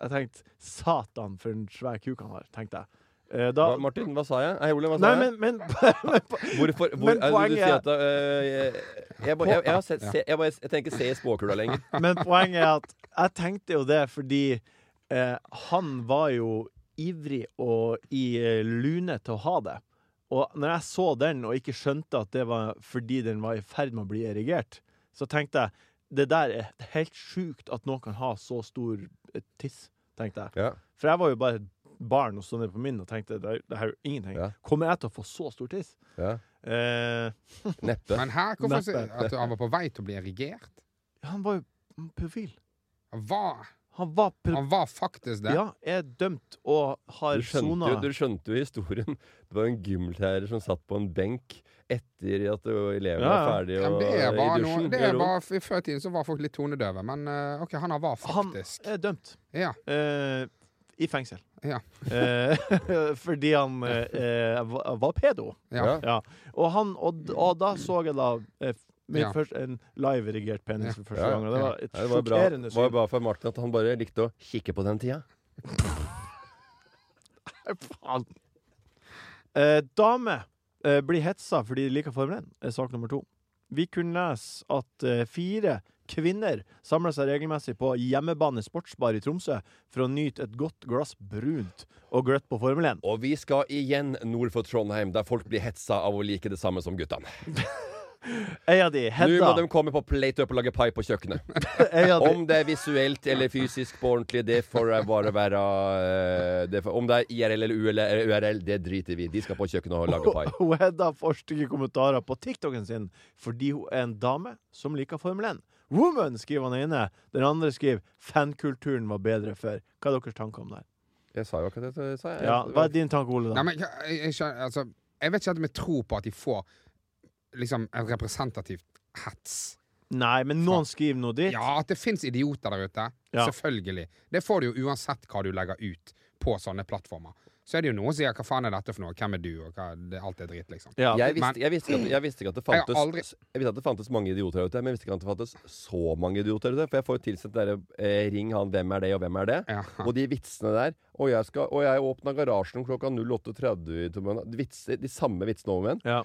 Jeg tenkte, Satan, for en svær kuk han har, tenkte jeg. Eh, da,
Hva, Martin, hva sa jeg? Hei, Ole, hva sa
nei,
jeg?
men, men, <laughs> men
Hvorfor hvor,
men
er det du
poenget er-
sier at, eh, jeg, jeg, bare- jeg, jeg, har sett- se- jeg, bare- jeg tenker se i spåkula lenger.
Men poenget er at jeg tenkte jo det fordi eh, han var jo ivrig og i eh, lune til å ha det. Og når jeg så den og ikke skjønte at det var fordi den var i ferd med å bli erigert, så tenkte jeg det der er helt sjukt at noen kan ha så stor eh, tiss, tenkte jeg.
Ja.
For jeg var jo bare et barn og stod ned på min og tenkte det, er- det her er jo ingenting.
Ja.
Kommer jeg til å få så stor tiss?
Ja.
Eh,
Neppe.
Men her, hvorfor sier
Neppe.
at han var på vei til å bli erigert?
han var jo profil.
Han var,
Han var pro
han var faktisk det.
Ja, er dømt og har
Du skjønte,
sona.
jo, du skjønte jo historien. Det var jo en gymlærer som satt på en benk etter at det var- elevene
Ja, ja.
var ferdige
Ja, men
og,
det er
i
bare
dusjen.
noe det
i
er
ro.
bare, I før i tiden så var folk litt tonedøve, men eh, OK, han her var
Han
faktisk
er dømt.
Ja.
eh, I fengsel.
Ja.
Eh, <laughs> fordi han eh, var, var pedo.
ja.
Ja.
Ja. Og, han, og, d- og da så jeg da eh, min
Ja.
først, en live-erigert penis for første
Ja, ja.
gang. Og det var et
Ja, det var bra.
sjokkerende
Det var
syn.
bra for Martin at han bare likte å kikke på den tida.
Faen. Eh, dame eh, blir hetsa fordi de liker Formel 1, er sak nummer to. Vi kunne lese at eh, fire kvinner samler seg regelmessig på hjemmebane sportsbar i Tromsø for å nyte et godt glass brunt og gløtt på Formel 1.
Og vi skal igjen nord for Trondheim, der folk blir hetsa av å like det samme som guttene.
Ei av de,
Nå må
Hedda.
de komme på plate up og lage pai på
<laughs>
kjøkkenet.
<laughs> Ei av de.
Om det er visuelt eller fysisk på ordentlig, det får jeg bare være eh, det får, Om det er IRL eller UL eller URL, det driter vi i. De skal på kjøkkenet og
<laughs>
lage pai.
<laughs> Hun Hedda får stygge kommentarer på TikToken sin fordi hun er en dame som liker Formel 1. Woman, skriver han ene. Den andre skriver fankulturen var bedre før. Hva er deres tanker om det? her?
Jeg sa jo akkurat det. Sa jeg.
Ja, Hva er din tanke, Ole?
Nei,
da?
men jeg, jeg, jeg, skjønner- altså, jeg vet ikke helt om jeg tror på at de får liksom en representativt hets.
Nei, men noen skriver noe dritt.
Ja, at det fins idioter der ute.
Ja.
Selvfølgelig. Det får du jo uansett hva du legger ut på sånne plattformer. Så er det jo noen som sier 'hva faen er dette for noe', 'hvem er du', og hva, det, alt er dritt, liksom.
Ja.
Jeg
men-
visste, jeg, visste ikke at, jeg visste ikke at det
Jeg har
fantes
aldri-
Jeg visste at det fantes mange idioter der ute, men jeg visste ikke at det fantes så mange idioter der ute. For jeg får jo tilsendt derre eh, 'ring han, hvem er det, og hvem er det?'
Ja.
Og de vitsene der Og jeg, skal, og jeg åpna garasjen klokka 08.30 i morgen. De vitser- De samme vitsene om igjen.
Ja.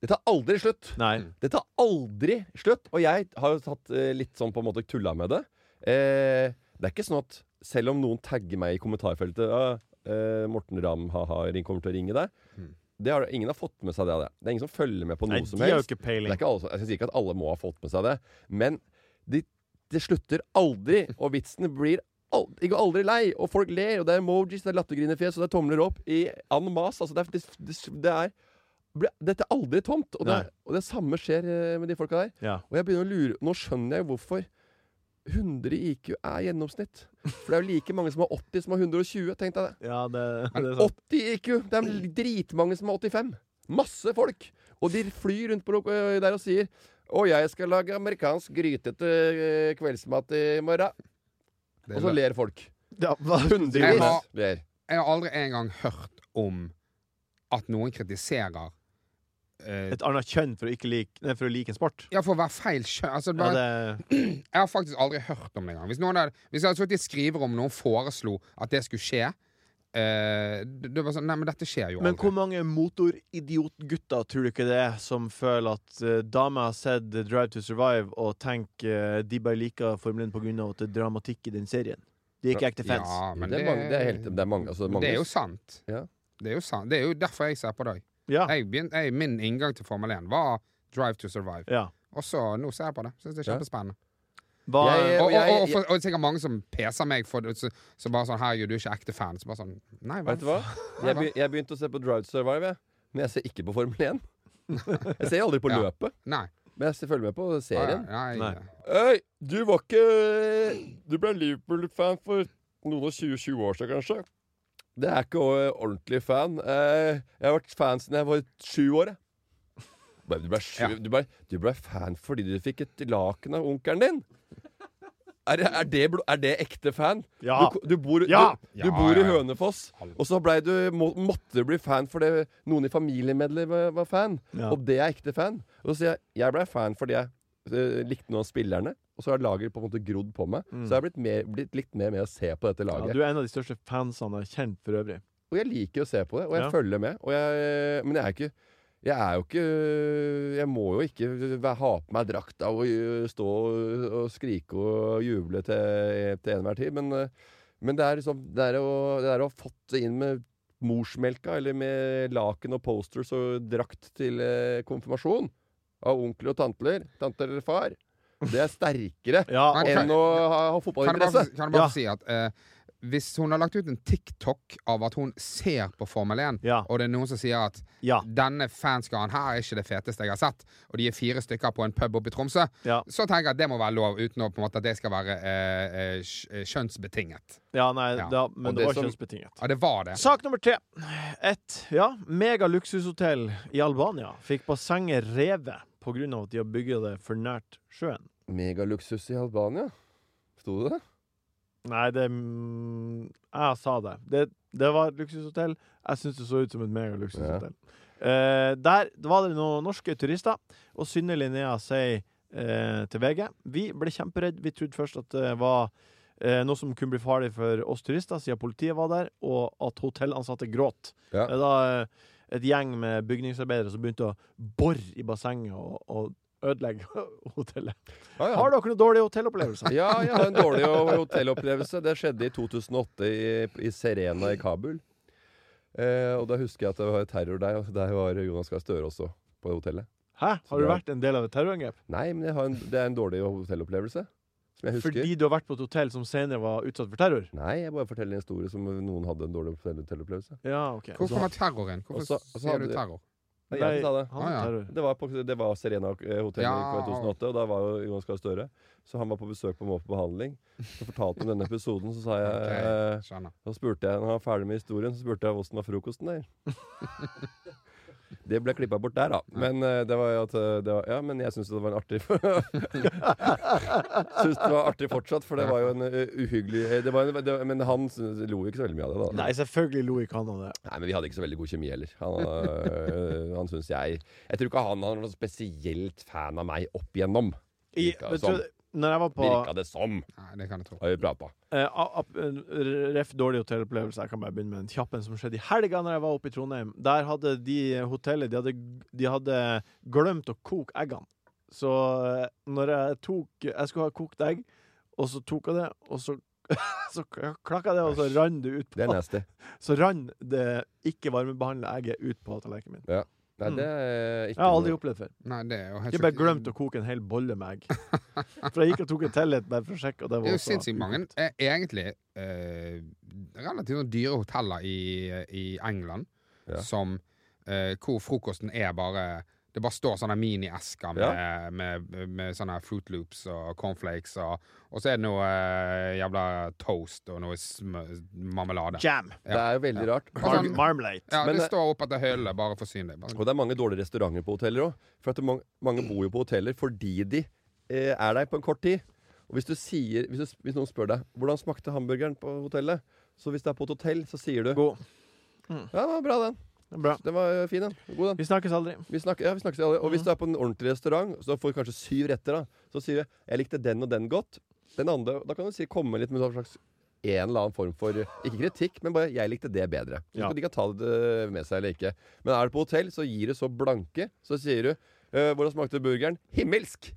Det tar aldri slutt!
Nei.
Det tar aldri slutt! Og jeg har jo tatt eh, litt sånn på en måte tulla med det. Eh, det er ikke sånn at selv om noen tagger meg i kommentarfeltet «Ah, eh, 'Morten Ramm, ha-ha, ring- kommer til å ringe deg' det har, Ingen har fått med seg det. av det. Det er ingen som følger med på noe
Mm. Nei,
som
de har jo
helst.
ikke peiling.
Det er ikke alle, som- jeg sier ikke at alle må ha fått med seg det, men de, det slutter aldri, og vitsene blir al- de går aldri lei, og folk ler, og det er emojis, det er lattergrinefjes, og det er tomler opp i en masse. Altså, det er, det, det er blir- Dette er aldri tomt, og det,
Nei.
er, og det samme skjer eh, med de folka der.
Ja.
Og jeg begynner å lure Nå skjønner jeg jo hvorfor 100 i IQ er gjennomsnitt. For det er jo like mange som har 80 som har 120, tenk deg det.
<laughs> Ja, det, det er sant.
80 i IQ! Det er dritmange som har 85. Masse folk! Og de flyr rundt på lok- ø, der og sier Å, jeg skal lage amerikansk grytete ø, kveldsmat i morgen.
Det er
Og så ler folk.
Ja, hva-
Jeg
Hundrevis
har-
ler.
Jeg har aldri engang hørt om at noen kritiserer eh,
Et annet kjønn for å, ikke like, nei, for å like en sport.
Ja, for å være feil kjønn. Altså,
Ja,
bare,
det,
Jeg har faktisk aldri hørt om det engang. Hvis, noen hadde- hvis jeg hadde sittet i skriverom og noen foreslo at det skulle skje eh, det, det var sånn, Nei, men dette skjer jo
men
aldri.
hvor mange motoridiotgutter tror du ikke det er som føler at eh, damer har sett Drive to Survive og tenker eh, de bare liker Formel 1 pga. at det er dramatikk i den serien? De er ikke ekte fans.
Ja, men
det, er mange, det er helt Det er mange. Altså, mange
det er jo sant.
Ja.
Det er jo sant. Det er jo derfor jeg ser på deg.
Ja.
Jeg begyn- jeg, min inngang til Formel 1 var Drive to Survive.
ja.
Og så nå ser jeg på det. Syns det er
Ja.
kjempespennende.
Hva,
Jeg-
Og, og, og,
jeg-
for, og det er sikkert mange som peser meg for det, så- som bare sånn 'Herregud, du er ikke ekte fan'. Så bare sånn Nei
Vet
vel.
du hva? Jeg, begy- jeg begynte å se på Drive to Survive, jeg. men jeg ser ikke på Formel 1.
<laughs>
Jeg ser aldri på
Ja.
løpet,
Nei.
men jeg ser- følger med på serien.
Nei.
Nei.
Hei, du var ikke Du ble Liverpool-fan for noen og 20-20 år siden, kanskje? Det er ikke eh, ordentlig fan. Eh, Jeg har vært fan siden jeg var sju år. jeg. Bare, Du ble, sju,
Ja.
du, ble, du ble fan fordi du fikk et laken av onkelen din? Er, det- er, det, blo- er det ekte fan?
Ja.
Du, du bor,
Ja.
du, du
Ja,
bor
ja,
i
ja.
Hønefoss, og så blei du, må, måtte du bli fan fordi noen i familiemedlemmer var fan.
Ja.
Og det er ekte fan. Og så sier jeg jeg blei fan fordi jeg eh, likte noen av spillerne, og så har laget på en måte grodd på meg. Så jeg har blitt, mer, blitt litt mer med å se på dette
ja,
laget.
du er en av de største fansene jeg har kjent for øvrig.
Og jeg liker å se på det, og jeg
Ja.
følger med. Og jeg, men jeg er ikke jeg er jo ikke Jeg må jo ikke væ- ha på meg drakta og øh, stå og, og skrike og juble til, til enhver tid. Men, øh, men det er liksom det er, å, det er å ha fått det inn med morsmelka, eller med laken og posters og drakt til eh, konfirmasjon av onkler og tantler, tanter eller far, det er sterkere
Ja,
Nei,
og-
kan-
enn å ha, ha
Kan jeg bare,
fotballinteresse.
kan jeg bare
Ja.
si at eh, hvis hun har lagt ut en TikTok av at hun ser på Formel 1,
Ja.
og det er noen som sier at
ja,
'denne fanskaren her er ikke det feteste jeg har sett', og de er fire stykker på en pub oppe i Tromsø,
Ja.
så tenker jeg at det må være lov, uten å, på en måte, at det skal være eh, eh, kj- eh, kjønnsbetinget.
ja, nei,
Ja.
Da, men
Og
det
det
var
som-
kjønnsbetinget.
Ja, det var det.
Sak nummer tre. Et ja, megaluksushotell i Albania fikk bassenget revet pga. at de har bygget det for nært sjøen.
Megaluksus i Albania. Sto det det?
Nei, det mm, Jeg sa det. Det, det var et luksushotell. Jeg syns det så ut som et megaluksushotell. Eh, der var det noen norske turister, og Synne Linnea sier eh, til VG Vi ble kjemperedd. Vi trodde først at det var eh, noe som kunne bli farlig for oss turister, siden politiet var der, og at hotellansatte gråt.
Ja.
Det er da eh, et gjeng med bygningsarbeidere som begynte å bore i bassenget og, og ødelegge <laughs> hotellet.
Ah, ja.
Har dere noen dårlige hotellopplevelser?
Ja, jeg har en dårlig ho- hotellopplevelse. Det skjedde i 2008 i, i Serena i Kabul. Eh, og da husker jeg at det var terror der, og der var Jonas Gahr Støre også på hotellet.
Hæ? Har du
det er-
vært en del av et terrorangrep?
Nei, men jeg har en, det er en dårlig hotellopplevelse. Som jeg husker.
Fordi du har vært på et hotell som senere var utsatt for terror?
Nei, jeg bare forteller en historie som noen hadde en dårlig hotell- hotellopplevelse.
Ja, ok.
Hvor kommer terror inn? Hvorfor
og så- og så
sier
hadde
du
du-
terror?
Det er jeg som sa det.
han hadde
Ah, ja.
terror.
Det var, på, det var Serena eh, Hotel
Ja.
i 2008, og da var jo Jonas Gahr Støre. Så han var på besøk på Må på behandling. Så fortalte han denne episoden, så sa jeg eh,
Skjønner.
Så spurte jeg, når han var ferdig med historien, så spurte jeg hvordan var frokosten der. Det ble klippa bort der, da. Men eh, det var jo at eh, det var, Ja, men jeg syns det var en artig <laughs> Syns det var artig fortsatt, for det var jo en eh, uhyggelig eh, det var en, det, var- Men han syns- lo jo ikke så veldig mye av det, da.
Nei, selvfølgelig lo ikke han av det.
Nei, men vi hadde ikke så veldig god kjemi heller. Han, øh, han syns jeg Jeg tror ikke han var noe spesielt fan av meg opp igjennom.
I,
Virka det
vet du,
som.
når jeg var på
Virka det som.
Nei, det kan jeg tro.
Har vi prata.
eh, a- ap- eh, ref dårlig hotellopplevelse, jeg kan bare begynne med en kjapp en som skjedde i helga når jeg var oppe i Trondheim. Der hadde de hotellet De hadde, de hadde glemt å koke eggene. Så eh, når jeg tok Jeg skulle ha kokt egg, og så tok jeg det, og så <laughs> så klakka det, og så
Æsj.
rann det ut
Det er
på
nasty.
Så rann det ikke varmebehandla egget ut på tallerkenen min.
Nei, det er
Mm. Jeg
ikke
har aldri
noe-
opplevd det før.
Nei, det er jo helt
Jeg bare
sjukt.
glemte å koke en hel bolle med egg. For jeg gikk og tok en tellett bare for å sjekke. Og det,
Det
var
er jo
også
sinnssykt mange
ukokt.
eh, egentlig eh, relativt sånn dyre hoteller i, i England
Ja.
som eh, Hvor frokosten er bare Det bare står sånne miniesker med, med, med sånne Fruit Loops og cornflakes, og, og så er det noe eh, jævla toast og noe sm marmelade.
Jam!
Det er jo veldig rart.
Mar
Sånn-
marmalade.
Ja,
Men
det
det-
står opp etter hølet, bare forsyn deg.
Og det er mange dårlige restauranter på hoteller òg. For at det er mange, mange bor jo på hoteller fordi de eh, er der på en kort tid. Og hvis, du sier, hvis, du, s- hvis noen spør deg hvordan smakte hamburgeren på hotellet, så hvis det er på et hotell, så sier du
God.
Ja, det var bra, den.
Det er Bra.
Den var øh, fin, den. God, den.
Vi snakkes aldri.
Vi snakker, ja, vi snakkes aldri. Og hvis du er på en ordentlig restaurant, så får du kanskje syv retter, da. Så sier vi 'jeg likte den og den godt'. Den andre, Da kan du si komme litt med en slags en eller annen form for Ikke kritikk, men bare 'jeg likte det bedre'. Så
Ja.
De kan ta det eh, med seg eller ikke. Men er du på hotell, så gir du så blanke. Så sier du «Øh, 'hvordan smakte burgeren'? Himmelsk!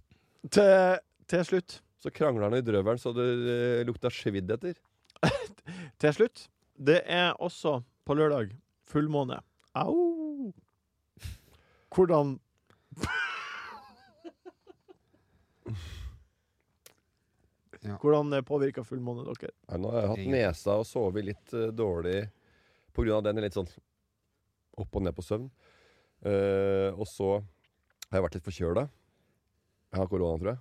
Til, til slutt.
Så krangler han i drøvelen så det øh, lukta svidd etter.
Til slutt. Det er også på lørdag fullmåne. Au! Hvordan
Ja.
Hvordan påvirka fullmåne dere?
Nei, nå har jeg hatt
Ingen.
nesa og sovet litt uh, dårlig pga. den er litt sånn opp og ned på søvn. Eh, og så har jeg vært litt forkjøla. Jeg har korona, tror jeg.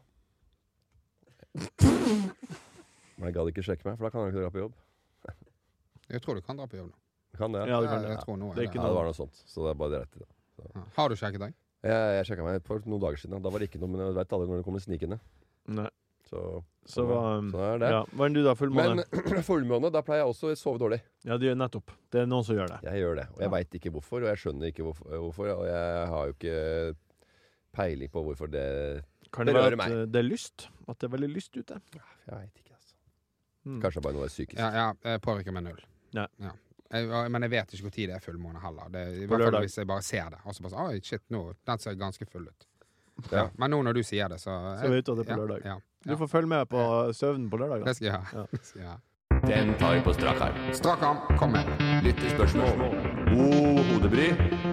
Men jeg gadd ikke sjekke meg, for da kan jeg ikke dra på jobb.
Jeg tror du kan dra på jobb nå.
Jeg kan det.
Ja, det kan
jeg,
jeg.
jeg tror nå
Det er
er
ikke
Ja,
det.
det var noe sånt. Så det er bare dreit i det.
Ja. Har du sjekket deg?
Jeg, jeg sjekka meg for noen dager siden. Da var det ikke noe, men jeg veit aldri når det kommer snikende.
Nei.
Så,
Så um,
sånn er det.
ja. Hva enn du, da? Fullmåne?
Men <clears throat> fullmåne, da pleier jeg også å sove dårlig.
Ja, det gjør nettopp. Det er noen som gjør det.
Jeg gjør det, og jeg veit ikke hvorfor, og jeg skjønner ikke hvorfor, hvorfor, og jeg har jo ikke peiling på hvorfor det
Kan det være
Berører
at
meg.
eh, det er lyst? At det er veldig lyst ute?
Jeg veit ikke, altså.
Mm.
Kanskje det bare noe er psykisk.
Ja, ja jeg påvirker meg null.
Nei.
Ja. Jeg, og- men jeg vet ikke når det er fullmåne heller. Det, I
På
hvert fall
lørdag.
hvis jeg bare ser det. Og så bare sånn, Oi, shit, nå, den ser ganske full ut.
Ja.
Ja. Men nå når du sier det, så
Så vet du at det er på
ja,
lørdag.
Ja,
Du
ja.
får følge med på søvnen på lørdag. da.
Det skal jeg gjøre.
Ja.
<laughs> Det skal jeg gjøre.
Den tar vi på strak arm.
Strak arm, kom med.
Lyttespørsmål. God hodebry,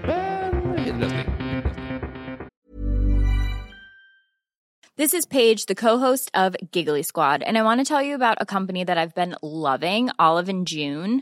men innløsning.
This is Paige, the co-host of Giggly Squad, and I want to tell you about a company that I've been loving, Olive and June.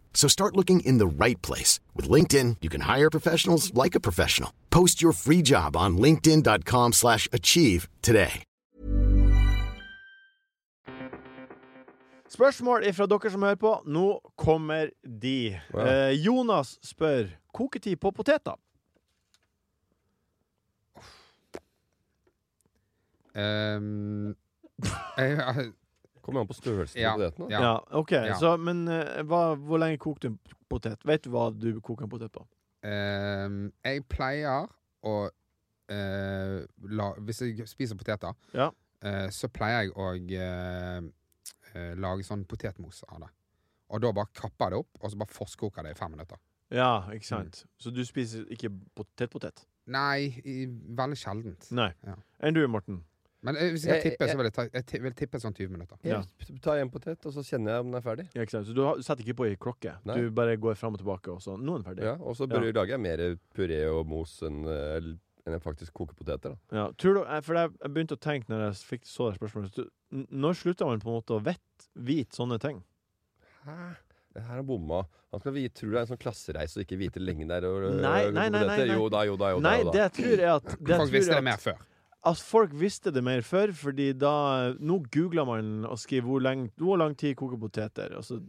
So start looking in the right place. With LinkedIn, you can hire professionals like a professional. Post your free job on linkedin.com/achieve slash achieve today.
Spørsmål ifra dere som hører på. Nå kommer de.
Wow.
Eh, Jonas spør koketid på poteter.
Ehm, jeg, jeg,
Kommer an på størrelsen
Ja,
på poteten. da.
Ja,
Ja.
ok.
Ja.
Så, men eh, hva, hvor lenge kokte du en potet? Vet du hva du koker en potet på?
ehm, jeg pleier å eh, la, Hvis jeg spiser poteter,
Ja.
eh, så pleier jeg å eh, eh, lage sånn potetmos av det. Og da bare kapper jeg det opp, og så bare forskkoker det i fem minutter.
Ja, ikke sant. Mm. Så du spiser ikke potetpotet?
Nei, i, veldig sjeldent.
Nei.
Ja.
Enn du, Morten?
Men eh, hvis jeg skal
Jeg-
tippe,
jeg-
så vil jeg, ta, jeg ti- vil tippe sånn 20 minutter.
Ja.
Jeg tar en potet, og så kjenner jeg om den er ferdig.
Ja, ikke sant? Så du, har, du setter ikke på i klokke?
Nei.
Du bare går fram og tilbake, og så Nå er den ferdig.
Ja, og så bør- lager jeg mer puré og mos enn eh, l- enn jeg faktisk koker poteter. da.
Ja, tror du, jeg- for jeg, jeg begynte å tenke når jeg fikk så det spørsmålet så- n- Når slutta man på en måte å vett, vite sånne ting?
Hæ? Det her er bomma. Han skal vi, tror det er en sånn klassereise og ikke vite lenge der. Og, og-
Nei,
og-
nei, nei,
poteter.
nei, nei.
Jo da, jo da, jo da.
Nei,
jo da.
det jeg tror er at det jeg
Folk visste
tror
det
er
mer
at,
før.
at folk visste det mer før, fordi da Nå googler man og skriver hvor, lenge, hvor lang tid koker poteter, og så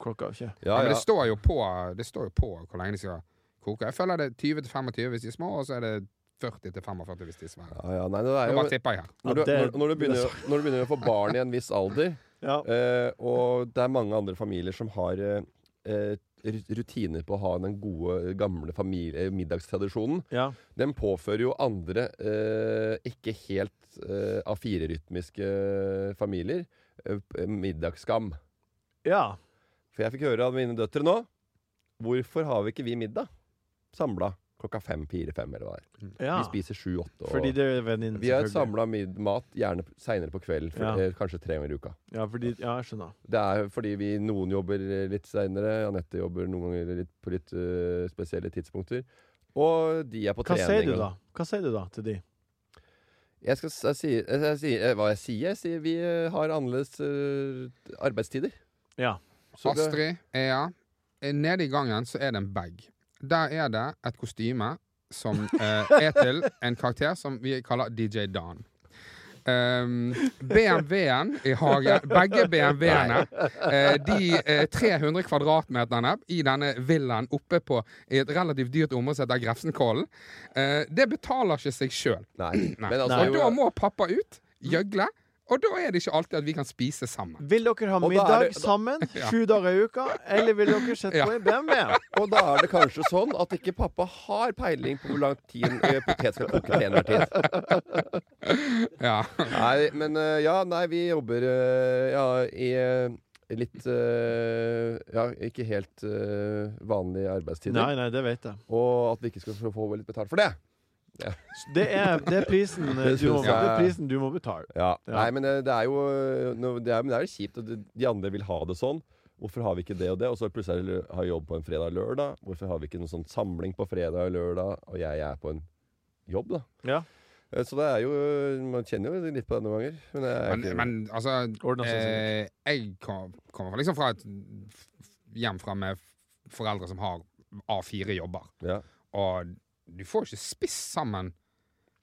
klokka er ikke
Ja,
Ja,
Men
ja.
det står, jo på, det står jo på hvor lenge de skal koke. Jeg føler det er 20-25 hvis de er små, og så er det 40-45 hvis de er svære.
ja, ja. Nei, det er
Nå
jo,
bare tipper jeg her.
når, du,
Ja, det-
når, når, du begynner, å- når du begynner å få barn i en viss alder,
Ja.
eh, og det er mange andre familier som har eh, eh, ru- rutiner på å ha den gode, gamle familie, eh, middagstradisjonen,
ja.
den påfører jo andre eh, ikke helt eh, A4-rytmiske familier eh, p- middagsskam.
ja.
For jeg fikk høre av mine døtre nå Hvorfor har vi ikke vi middag? Samla klokka fem, fire, fem eller hva det er.
ja.
Vi spiser sju, åtte. og-
Fordi det er venninnen,
Vi har
selvfølgelig.
samla mat gjerne seinere på kvelden, for,
Ja.
eh, kanskje tre ganger i uka.
Ja, fordi, ja, jeg skjønner.
Det er fordi vi, noen jobber eh, litt seinere, Anette jobber noen ganger litt, på litt eh, spesielle tidspunkter. Og de er på
Hva
trening.
sier du
og-
da? Hva sier du da til de?
Jeg, skal, s- jeg, sier, jeg, jeg sier eh, hva jeg sier. Jeg sier vi eh, har annerledes eh, arbeidstider.
Ja.
Så det-
Astrid, Ea. eh, Nede i gangen så er det en bag. Der er det et kostyme som
<laughs>
eh, er til en karakter som vi kaller DJ Dan. Um, BMW-en i hagen, begge BMW-ene, eh, de eh, 300 kvadratmeterne i denne villaen oppe på i et relativt dyrt område som heter Grefsenkollen, eh, det betaler ikke seg sjøl.
Nei.
Nei.
Men altså,
Nei.
Og da må pappa ut, gjøgle, og da er det ikke alltid at vi kan spise sammen.
Vil dere ha
Og da er
middag
det- da- <laughs>
sammen sju dager i uka, eller vil dere sette
Ja.
på en BMW?
Og da er det kanskje sånn at ikke pappa har peiling på hvor lang tid en eh, potet skal koke til enhver tid.
Ja.
Nei, men eh, ja, nei, vi jobber eh, ja, i eh, litt eh, Ja, ikke helt eh, vanlige
Nei,
arbeidstider.
nei, det vet jeg.
Og at vi ikke skal få- få litt betalt for det.
Det er, det er, prisen, eh,
Det
du må,
synes
det
jeg-
er prisen du må betale.
Ja.
Ja.
Nei, men det, det er jo eh, nå- det er, men det er jo kjipt at de- de andre vil ha det sånn. Hvorfor har vi ikke det og det? Og så plutselig er det lø- har jobb på en fredag og lørdag. Hvorfor har vi ikke noen sånn samling på fredag og lørdag, og jeg, er på en jobb, da?
Ja.
Eh, Så det er jo Man kjenner jo litt på det noen ganger. Men det er
Men,
ikke,
men altså
Ordner seg
eh, Jeg kom- kommer liksom fra et hjem fra med foreldre som har A4-jobber,
ja.
og du får ikke spist sammen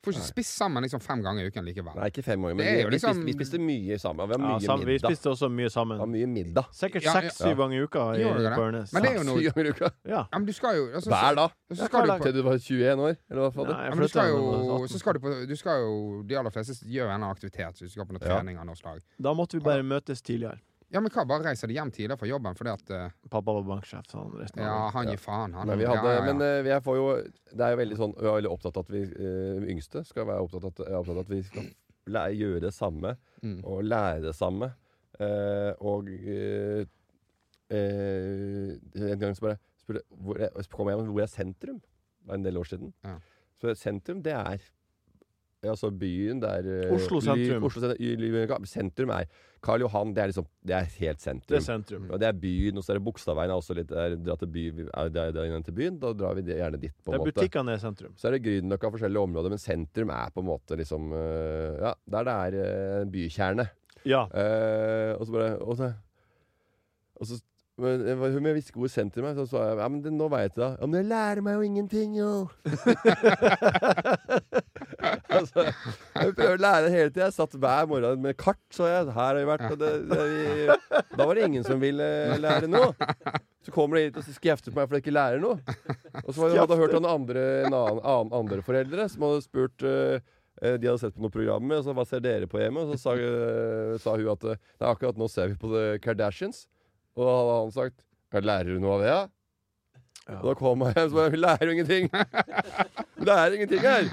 Du får ikke spist sammen liksom fem ganger i uken likevel.
Nei, ikke fem år, men
Det er
vi,
jo
vi,
liksom-
spiste, vi spiste mye sammen. Vi har
Ja,
mye
sammen, vi
middag.
spiste også mye
Vi har
sammen.
mye middag.
Sikkert
Ja, ja.
seks-syv ganger i uka i
Gjorde dere det?
på Ørnes.
Men det er jo
<laughs>
noe
Syv ganger i uka.
Ja.
Ja, men du skal jo altså, så-
Hver dag.
Så skal du
hver
på
Til du var 21 år, eller hva fader?
Nei, jeg
ja, men du
flyttet
skal
da jeg var
jo,
18.
så skal du, på, du skal jo De aller fleste gjør en eller annen aktivitet. Så du skal på noe
Ja.
trening av noe slag.
Da måtte vi bare møtes tidligere.
Ja, men hva, bare reiser de hjem tidligere fra jobben fordi at eh,
Pappa var banksjef, sa han resten av
Ja,
dagen.
han
Ja.
gir faen, han.
Nei, vi
Ja,
hadde,
ja, ja.
Men eh, jeg får jo Det er jo veldig sånn Vi er veldig opptatt av at vi eh, yngste skal være opptatt av at, er opptatt av at vi skal lære, gjøre det samme
Mm.
og lære det samme. Eh, og eh, eh, en gang så bare spurte hvor er- så kom jeg hjem, hvor er sentrum? Det er en del år siden.
Ja.
Så sentrum, det er ja, Altså byen, det er eh,
Oslo sentrum.
Ly- Oslo sentrum, y- Ly- sentrum er Karl Johan, det er liksom Det er
Det
helt sentrum.
er
Mm.
sentrum.
Og det er byen, og så er det Bogstadveien er også litt der. Dra til by, er det der inne til byen, da drar vi det gjerne dit, på
Det
en
er
måte.
butikkene er sentrum.
Så er det eh, Grünerløkka og forskjellige områder, men sentrum er på en måte liksom øh, Ja, der det er øh, bykjerne.
Ja.
Eh, og så bare Og så, og så men jeg var- Hun hviskeord sendte til meg, så sa jeg ja, men det, nå veit jeg det. Ja, men det lærer meg jo ingenting, jo! <laughs> altså, jeg prøver å lære det hele tida. Jeg satt hver morgen med kart, så jeg. Her har jeg vært. Og det, det, vi, da var det ingen som ville lære noe. Så kommer de hit og så skjefter på meg fordi jeg ikke lærer noe. Og så hadde jeg hørt om andre, en annen, annen, andre foreldre som hadde spurt eh, eh, De hadde sett på noe program, og så hva ser dere på hjemme? Og så sa, eh, sa hun at eh, Nei, akkurat nå ser vi på The Kardashians. Og da hadde han sagt «Ja, Lærer du noe av det, ja? Og da kom jeg hjem og sa Vi lærer
<laughs>
jo ingenting! Vi lærer ingenting her!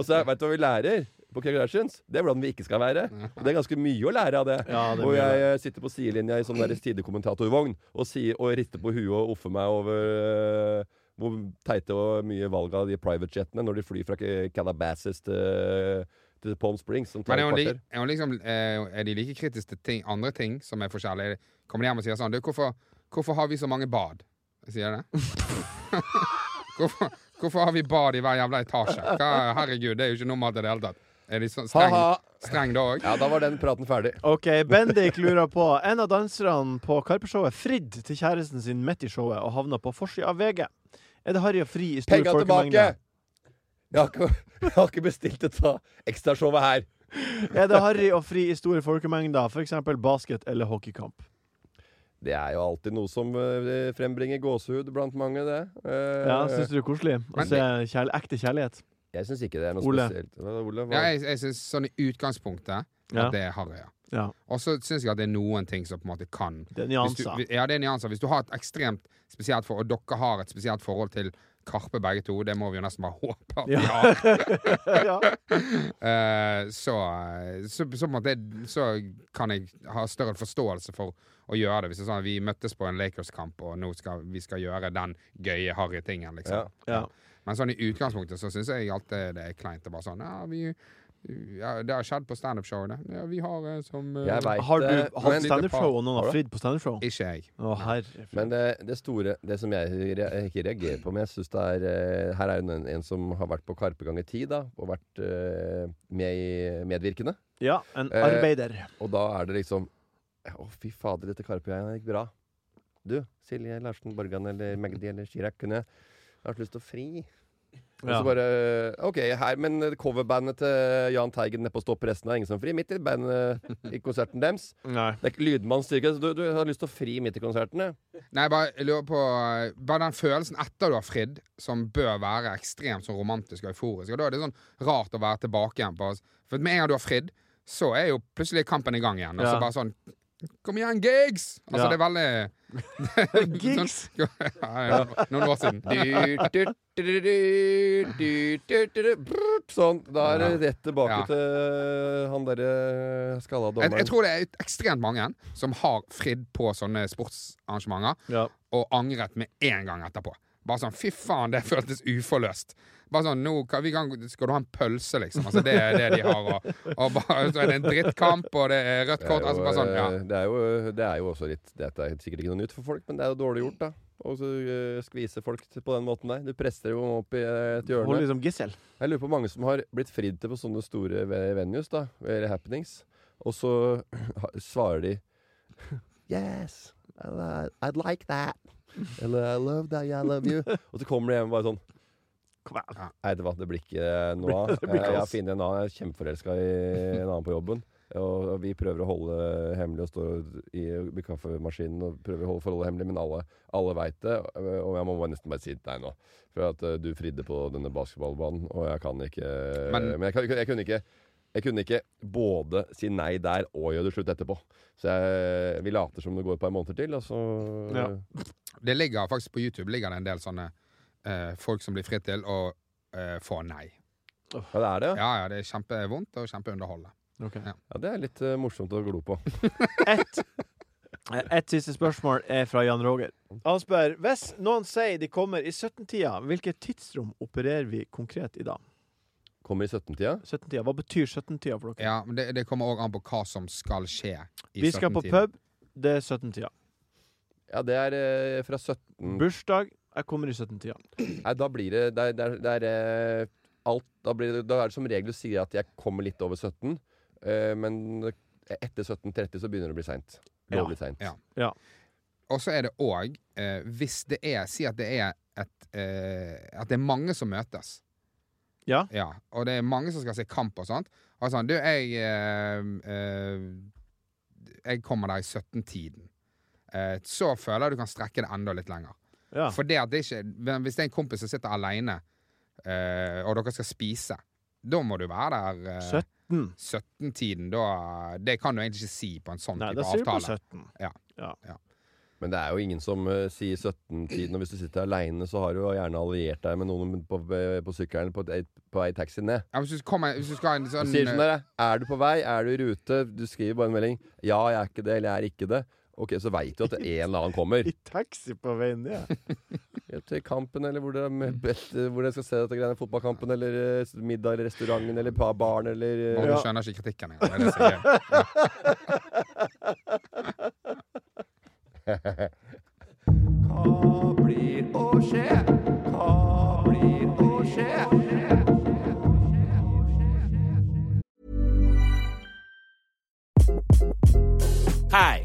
Og så veit du hva vi lærer? På Kardashians? Det er hvordan vi ikke skal være. Og det er ganske mye å lære av det.
Ja, det er
og
mye å
jeg eh, sitter på sidelinja i sånn deres tidekommentatorvogn og, sier, og rister på huet og offer meg over eh, hvor teite og mye valg av de privatjetene når de flyr fra K- Calabasas til, til Palm Springs, som tar
Men er
et
hun, li,
kvarter.
er, hun liksom, eh, er de like kritiske til ting, andre ting som er forskjellige? Kommer de hjem og sier sånn du, hvorfor, 'Hvorfor har vi så mange bad?' Sier de <laughs> det? hvorfor, hvorfor har vi bad i hver jævla etasje? Hva, herregud, det er jo ikke normalt i det hele tatt. Er de så streng,
Ha-ha!
streng da òg?
Ja, da var den praten ferdig.
OK, Bendik lurer på En av danserne på Karpe-showet fridde til kjæresten sin midt i showet og havna på forsida av VG. Er det harry og fri i stor
Penga tilbake!
folkemengde?
Jeg har ikke, jeg har ikke bestilt et av ekstrashowet her.
Er det harry og fri i store folkemengder, f.eks. basket- eller hockeykamp?
Det er jo alltid noe som eh, frembringer gåsehud blant mange, det. Eh,
Ja, Syns du det er koselig å
Men-
se kjærl ekte kjærlighet?
jeg syns ikke det er noe
Ole.
spesielt. Hva, Ole, hva?
Ja, jeg, jeg synes sånn i utgangspunktet at
Ja.
det er harry, ja.
Ja.
Og så syns jeg at det er noen ting som på en måte kan
Det er
Hvis du,
nyanser.
ja, det er nyanser. Hvis du har et ekstremt spesielt forhold, og dere har et spesielt forhold til Karpe begge to, det må vi jo nesten bare <laughs> håpe at vi har,
<laughs>
ja.
<laughs> eh, så, så, så, på en måte, så kan jeg ha større forståelse for å gjøre det. Hvis det er sånn at vi møttes på en Lakers-kamp, og nå skal vi skal gjøre den gøye, harry tingen,
Ja.
liksom.
Ja.
Men sånn i utgangspunktet så syns jeg alltid det er kleint å bare sånn Ja, vi ja, Det har skjedd på standup-showene. Ja, vi har eh, som eh,
Jeg vet
Har du
det,
hatt
men-
standup-show, og noen
Har
har
du?
fridd på standup-show?
Ikke jeg.
Å, herre
Men det, det store Det som jeg re- ikke reagerer på, men jeg syns det er eh, Her er jo en, en som har vært på Karpe ganger ti, da, og vært eh, med i Medvirkende.
Ja, en
Eh,
arbeider.
Og da er det liksom Å, fy fader, dette Karpe-greiene gikk bra. Du, Silje Larsen Borgan eller Magdi eller Chirag, kunne jeg har hatt lyst til å fri. Og
Ja.
så bare OK, her, men coverbandet til Jahn Teigen nede på Stopp resten er ingen som frir. Midt i bandet i konserten deres.
Nei.
Det er ikke lydmannsstyrke. Så du, du har lyst til å fri midt i konsertene?
Nei, jeg bare jeg lurer på eh, Bare den følelsen etter du har fridd, som bør være ekstremt sånn romantisk og euforisk. Og da er det sånn rart å være tilbake igjen på altså. For med en gang du har fridd, så er jo plutselig kampen i gang igjen. Og så
Ja.
bare sånn Kom igjen, gigs! Altså,
Ja.
det er
<laughs>
veldig <laughs>
Gigs?
Sånn, <laughs> ja, ja, noen år
<laughs>
siden. Du, du, du, du, du, du, du, du, du.
Brrrt, Sånn. Da er det rett tilbake
Ja.
til han derre eh, skalla
Jeg, jeg
dommeren.
tror det er ekstremt mange som har fridd på sånne sportsarrangementer.
Ja.
og angret med en gang etterpå. Bare sånn, fy faen, det føltes uforløst. Bare sånn, nå kan, vi kan, skal du ha en pølse, liksom. Altså, det er det de har. Og, og bare, så er det en drittkamp, og det er rødt
Det er
kort.
jo,
Altså, bare sånn, ja.
eh, det, er jo, det er jo også litt Dette er sikkert ikke noe nytt for folk, men det er jo dårlig gjort, da. Og så eh, skvise folk til- på den måten der. Du presser jo opp i eh, et hjørne.
Hold liksom gissel.
Jeg lurer på mange som har blitt fridd til på sånne store ve- venues, da, eller happenings, og så <clears throat> ha- svarer de Yes, I- I'd like that. Eller I love that, I love you. Og så kommer de hjem og bare sånn
Kom igjen.
Nei, det, var, det blir ikke noe av.
<laughs> Det blir
Jeg- Jeg har
kaos.
funnet en annen. Jeg er kjempeforelska i en annen på jobben. Og og vi prøver å holde hemmelig og står i, i kaffemaskinen og prøver å holde forholdet hemmelig, men alle, alle veit det. øh, Og jeg må bare nesten bare si nei nå. For at eh, du fridde på denne basketballbanen, og jeg kan ikke øh, Men,
Men-
jeg, kan, jeg kunne ikke jeg kunne ikke både si nei der og gjøre det slutt etterpå. Så jeg, vi later som det går et par måneder til, og så
Ja.
Det ligger faktisk på YouTube ligger det en del sånne eh, folk som blir fritt til å eh, få nei.
Ja, det er det, ja.
Ja, ja, det er kjempevondt og kjempeunderholdende.
Ok.
ja det er litt eh, morsomt å glo på.
Ett Et <laughs> siste spørsmål er fra Jan Roger. Han spør hvis noen sier de kommer i 17-tida, hvilket tidsrom opererer vi konkret i da?
Kommer i 17-tida.
17-tida, Hva betyr 17-tida for dere?
Ja, men det, det kommer òg an på hva som skal skje. i
Vi skal på
17-tiden.
pub, det er 17-tida.
Ja, det er eh, fra 17
Mm.
Bursdag, jeg kommer i 17-tida.
Nei, da blir det Det er, det er, det er eh, alt da, blir det, da er det som regel du sier at jeg kommer litt over 17, eh, men etter 17.30 så begynner det å bli seint.
Ja.
Lovlig seint.
Ja.
Ja.
Og så er det òg, eh, hvis det er Si at det er et eh, At det er mange som møtes.
Ja.
Ja, og det er mange som skal se kamp og sånt. Og sånn, du, jeg eh, eh, Jeg kommer der i 17-tiden. Eh, så føler jeg du kan strekke det enda litt lenger.
Ja.
For det at det ikke men Hvis det er en kompis som sitter aleine, eh, og dere skal spise, da må du være der eh,
17.
17-tiden. Da Det kan du egentlig ikke si på en sånn
Nei, da
type
sier du på
avtale.
17.
Ja.
Ja.
Men det er jo ingen som eh, sier 17-tiden, og hvis du sitter aleine, så har du jo gjerne alliert deg med noen på, eh, på sykkelen på, et- på vei i taxi ned.
Ja, hvis, du kommer, hvis du skal ha en
Du
sånn
sier sånn der, er du på vei, er du i rute? Du skriver bare en melding. Ja, jeg er ikke det, eller jeg er ikke det. Ok, så veit du at en eller annen kommer.
<laughs> I taxi på veien ned.
Til kampen, eller hvor dere hvor dere skal se dette greiene. Fotballkampen, eller eh, middag, eller restauranten, eller pa- baren, eller
eh,
eh,
og du
Ja.
skjønner ikke kritikken engang. Det er det som er gøy.
Hva blir å skje? Hva blir å skje?
Hi,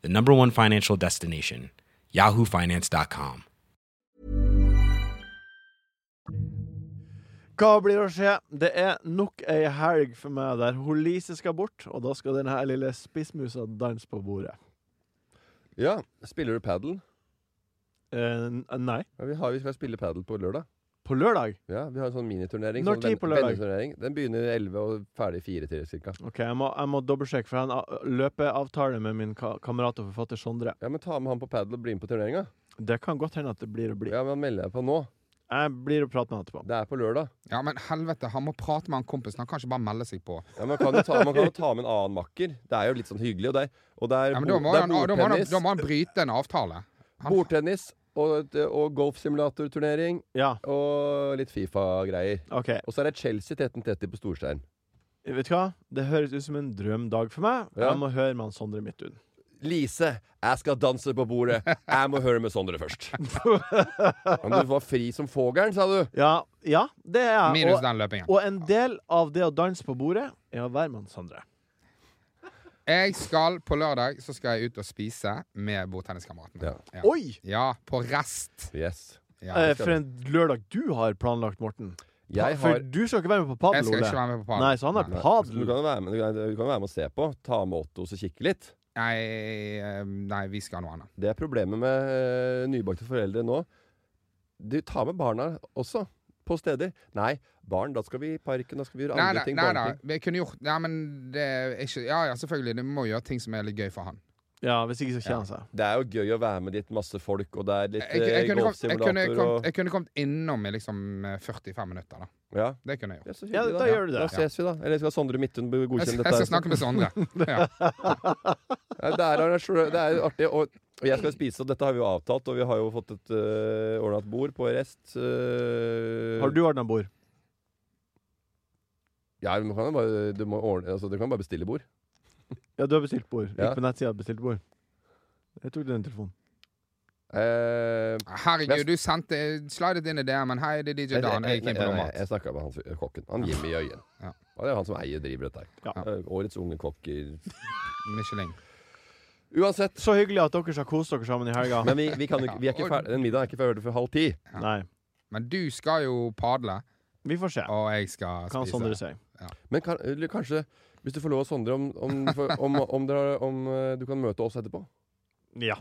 the number one financial destination, yahoofinance.com.
Hva blir å skje? Det er nok ei helg for meg der hun Lise skal bort, og da skal denne her lille spissmusa danse på bordet.
Ja, spiller du padel?
Eh, n- nei.
Ja, vi, har, vi skal spille padel på lørdag.
På lørdag?
Ja, Vi har en sånn miniturnering.
Når
sånn
tid
ven-
på lørdag?
venneturnering. Den begynner 11 og ferdig 4 til cirka.
OK, jeg må, jeg må dobbeltsjekke, for jeg har en a- løpeavtale med min ka kamerat og forfatter Sondre.
Ja, men Ta med han på padel og bli med på turneringa.
Det kan godt hende at det blir å bli.
Ja, men han melder jeg på nå.
Jeg blir å prate med han etterpå.
Det er på lørdag.
Ja, men helvete, han må prate med han kompisen. Han kan ikke bare melde seg på.
Ja, Man kan jo ta, man kan jo ta med en annen makker. Det er jo litt sånn hyggelig. Og det er, og det er,
Ja, men
bo-
da, må
det er
han, da, må han,
bordtennis.
da må han bryte en avtale. Han,
Bordtennis og, og golfsimulatorturnering
Ja,
og litt Fifa-greier.
OK.
Og så er det Chelsea 13.30 på Storstein.
Vet du hva? Det høres ut som en drømdag for meg.
Ja.
Jeg må høre med han Sondre Midtun.
Lise, jeg skal danse på bordet. Jeg må høre med Sondre
<laughs>
først. Men du var fri som fogeren, sa du.
Ja, ja, det er jeg.
minus
Og-
den løpingen.
Og en del av det å danse på bordet er å være med han Sondre.
Jeg skal på lørdag så skal jeg ut og spise med bordtenniskameratene. Ja.
Oi!
ja, på rest.
Yes.
Ja.
Eh,
skal
for
vi.
en lørdag du har planlagt, Morten.
Jeg
For
har
du skal ikke være med på padel,
Jeg skal ikke
Ole.
være med på
Nei, så han har
Nei.
du
padel.
kan jo være med, du kan du kan være med og se på. Ta med Otto og så kikke litt.
Nei, eh, nei, vi skal ha noe annet.
Det er problemet med eh, nybakte foreldre nå. Du tar med barna også. På steder. Nei, barn, da skal vi i parken. Da skal vi gjøre
Nei,
andre
nei,
ting.
nei, nei,
barneting.
vi kunne gjort Nei, men det er ikke Ja, ja, selvfølgelig. Du må gjøre ting som er litt gøy for han.
Ja, hvis ikke så kjenner han seg.
Det er jo gøy å være med dit masse folk, og det er litt
Jeg, jeg,
eh,
kunne, kommet, jeg, kunne,
golfsimulator
kommet,
og
jeg kunne kommet innom i liksom eh, 45 minutter, da.
Ja.
Det kunne jeg gjort.
Ja, så
Ja,
hyggelig,
da gjør du det.
Da ses vi, da. Eller skal Sondre Midthun be-
Jeg,
godkjenne
jeg
dette?
skal snakke med
<laughs>
Sondre. Ja.
Ja, det, er, arrangement- det er jo artig. Og, og jeg skal spise, og dette har vi jo avtalt. Og vi har jo fått et uh, ordna et bord på Rest. øh,
Har du ordna bord?
Ja, men kan jo bare, du, må ordne, altså, du kan bare bestille bord.
Ja, du har bestilt bord.
Ja.
Gikk på nettsida og bestilte bord. Jeg tok den telefonen.
Eh,
Herregud, du sendte Slidet inn i DM-en. Hei, det er DJ Dan. Jeg er keen på noe
jeg,
mat.
Eh, jeg snakka med han, fyr- kokken. Han Jimmy Øyen.
Ja.
Og det er jo han som eier og driver dette her.
Ja.
Eh, Årets unge kokker.
Michelin.
Uansett.
Så hyggelig at dere skal kose dere sammen i helga.
Men vi, vi kan jo ikke, vi er ikke ferdig, den middagen er ikke ferdig før halv ti.
Nei.
Men du skal jo padle,
Vi får se
og jeg skal
hva Sondre
spise.
sier.
Men kan, eller kanskje, hvis du får lov av Sondre, om, om, om, om, dere har- om, eh, du kan møte oss etterpå?
Ja.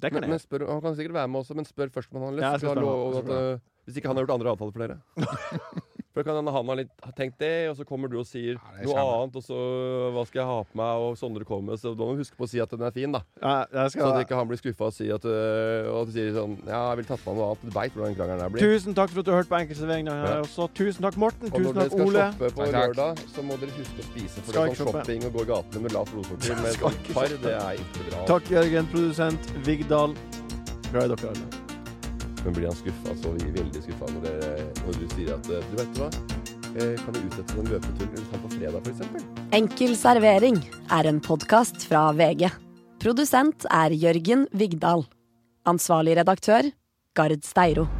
Det kan jeg.
Men, men spør, han kan sikkert være med også, men spør først om han har lyst.
Ja, jeg
for
skal
da
spørre han.
lov-
Jeg skal
at, øh, hvis ikke han har gjort andre avtaler
<laughs>
for dere. for da kan hende han har litt har tenkt det, og så kommer du og sier
Ja, det er
noe
kjempe.
annet, og så øh, hva skal jeg ha på meg, og Sondre kommer, så da må du huske på å si at den er fin, da.
Ja, jeg
Så at
skal...
ikke han blir skuffa og sier at øh, Og at du sier sånn Ja, jeg vil tatt på meg noe annet. Du veit hvordan den krangelen her blir.
Tusen takk for at du hørte på Enkeltserveringen her
Ja.
også. Tusen takk, Morten.
Og når
Tusen
dere
takk,
skal
Ole.
shoppe på
Nei, takk.
lørdag, så må dere huske å spise.
Skal
For det er
ikke
sånn
shoppe.
shopping og gå i gatene med lavt blodsukker med
Skal
et
ikke
par,
shoppe.
det er ikke bra.
Takk, Jørgen, produsent Vigdal. Glad i dere alle.
Men blir han skuffa, så blir vi veldig skuffa når, dere- når du sier at eh, Du vet hva? Eh, Kan vi utsette den løpeturen eller ta på fredag, f.eks.?
Enkel servering er en podkast fra VG. Produsent er Jørgen Vigdal. Ansvarlig redaktør, Gard Steiro.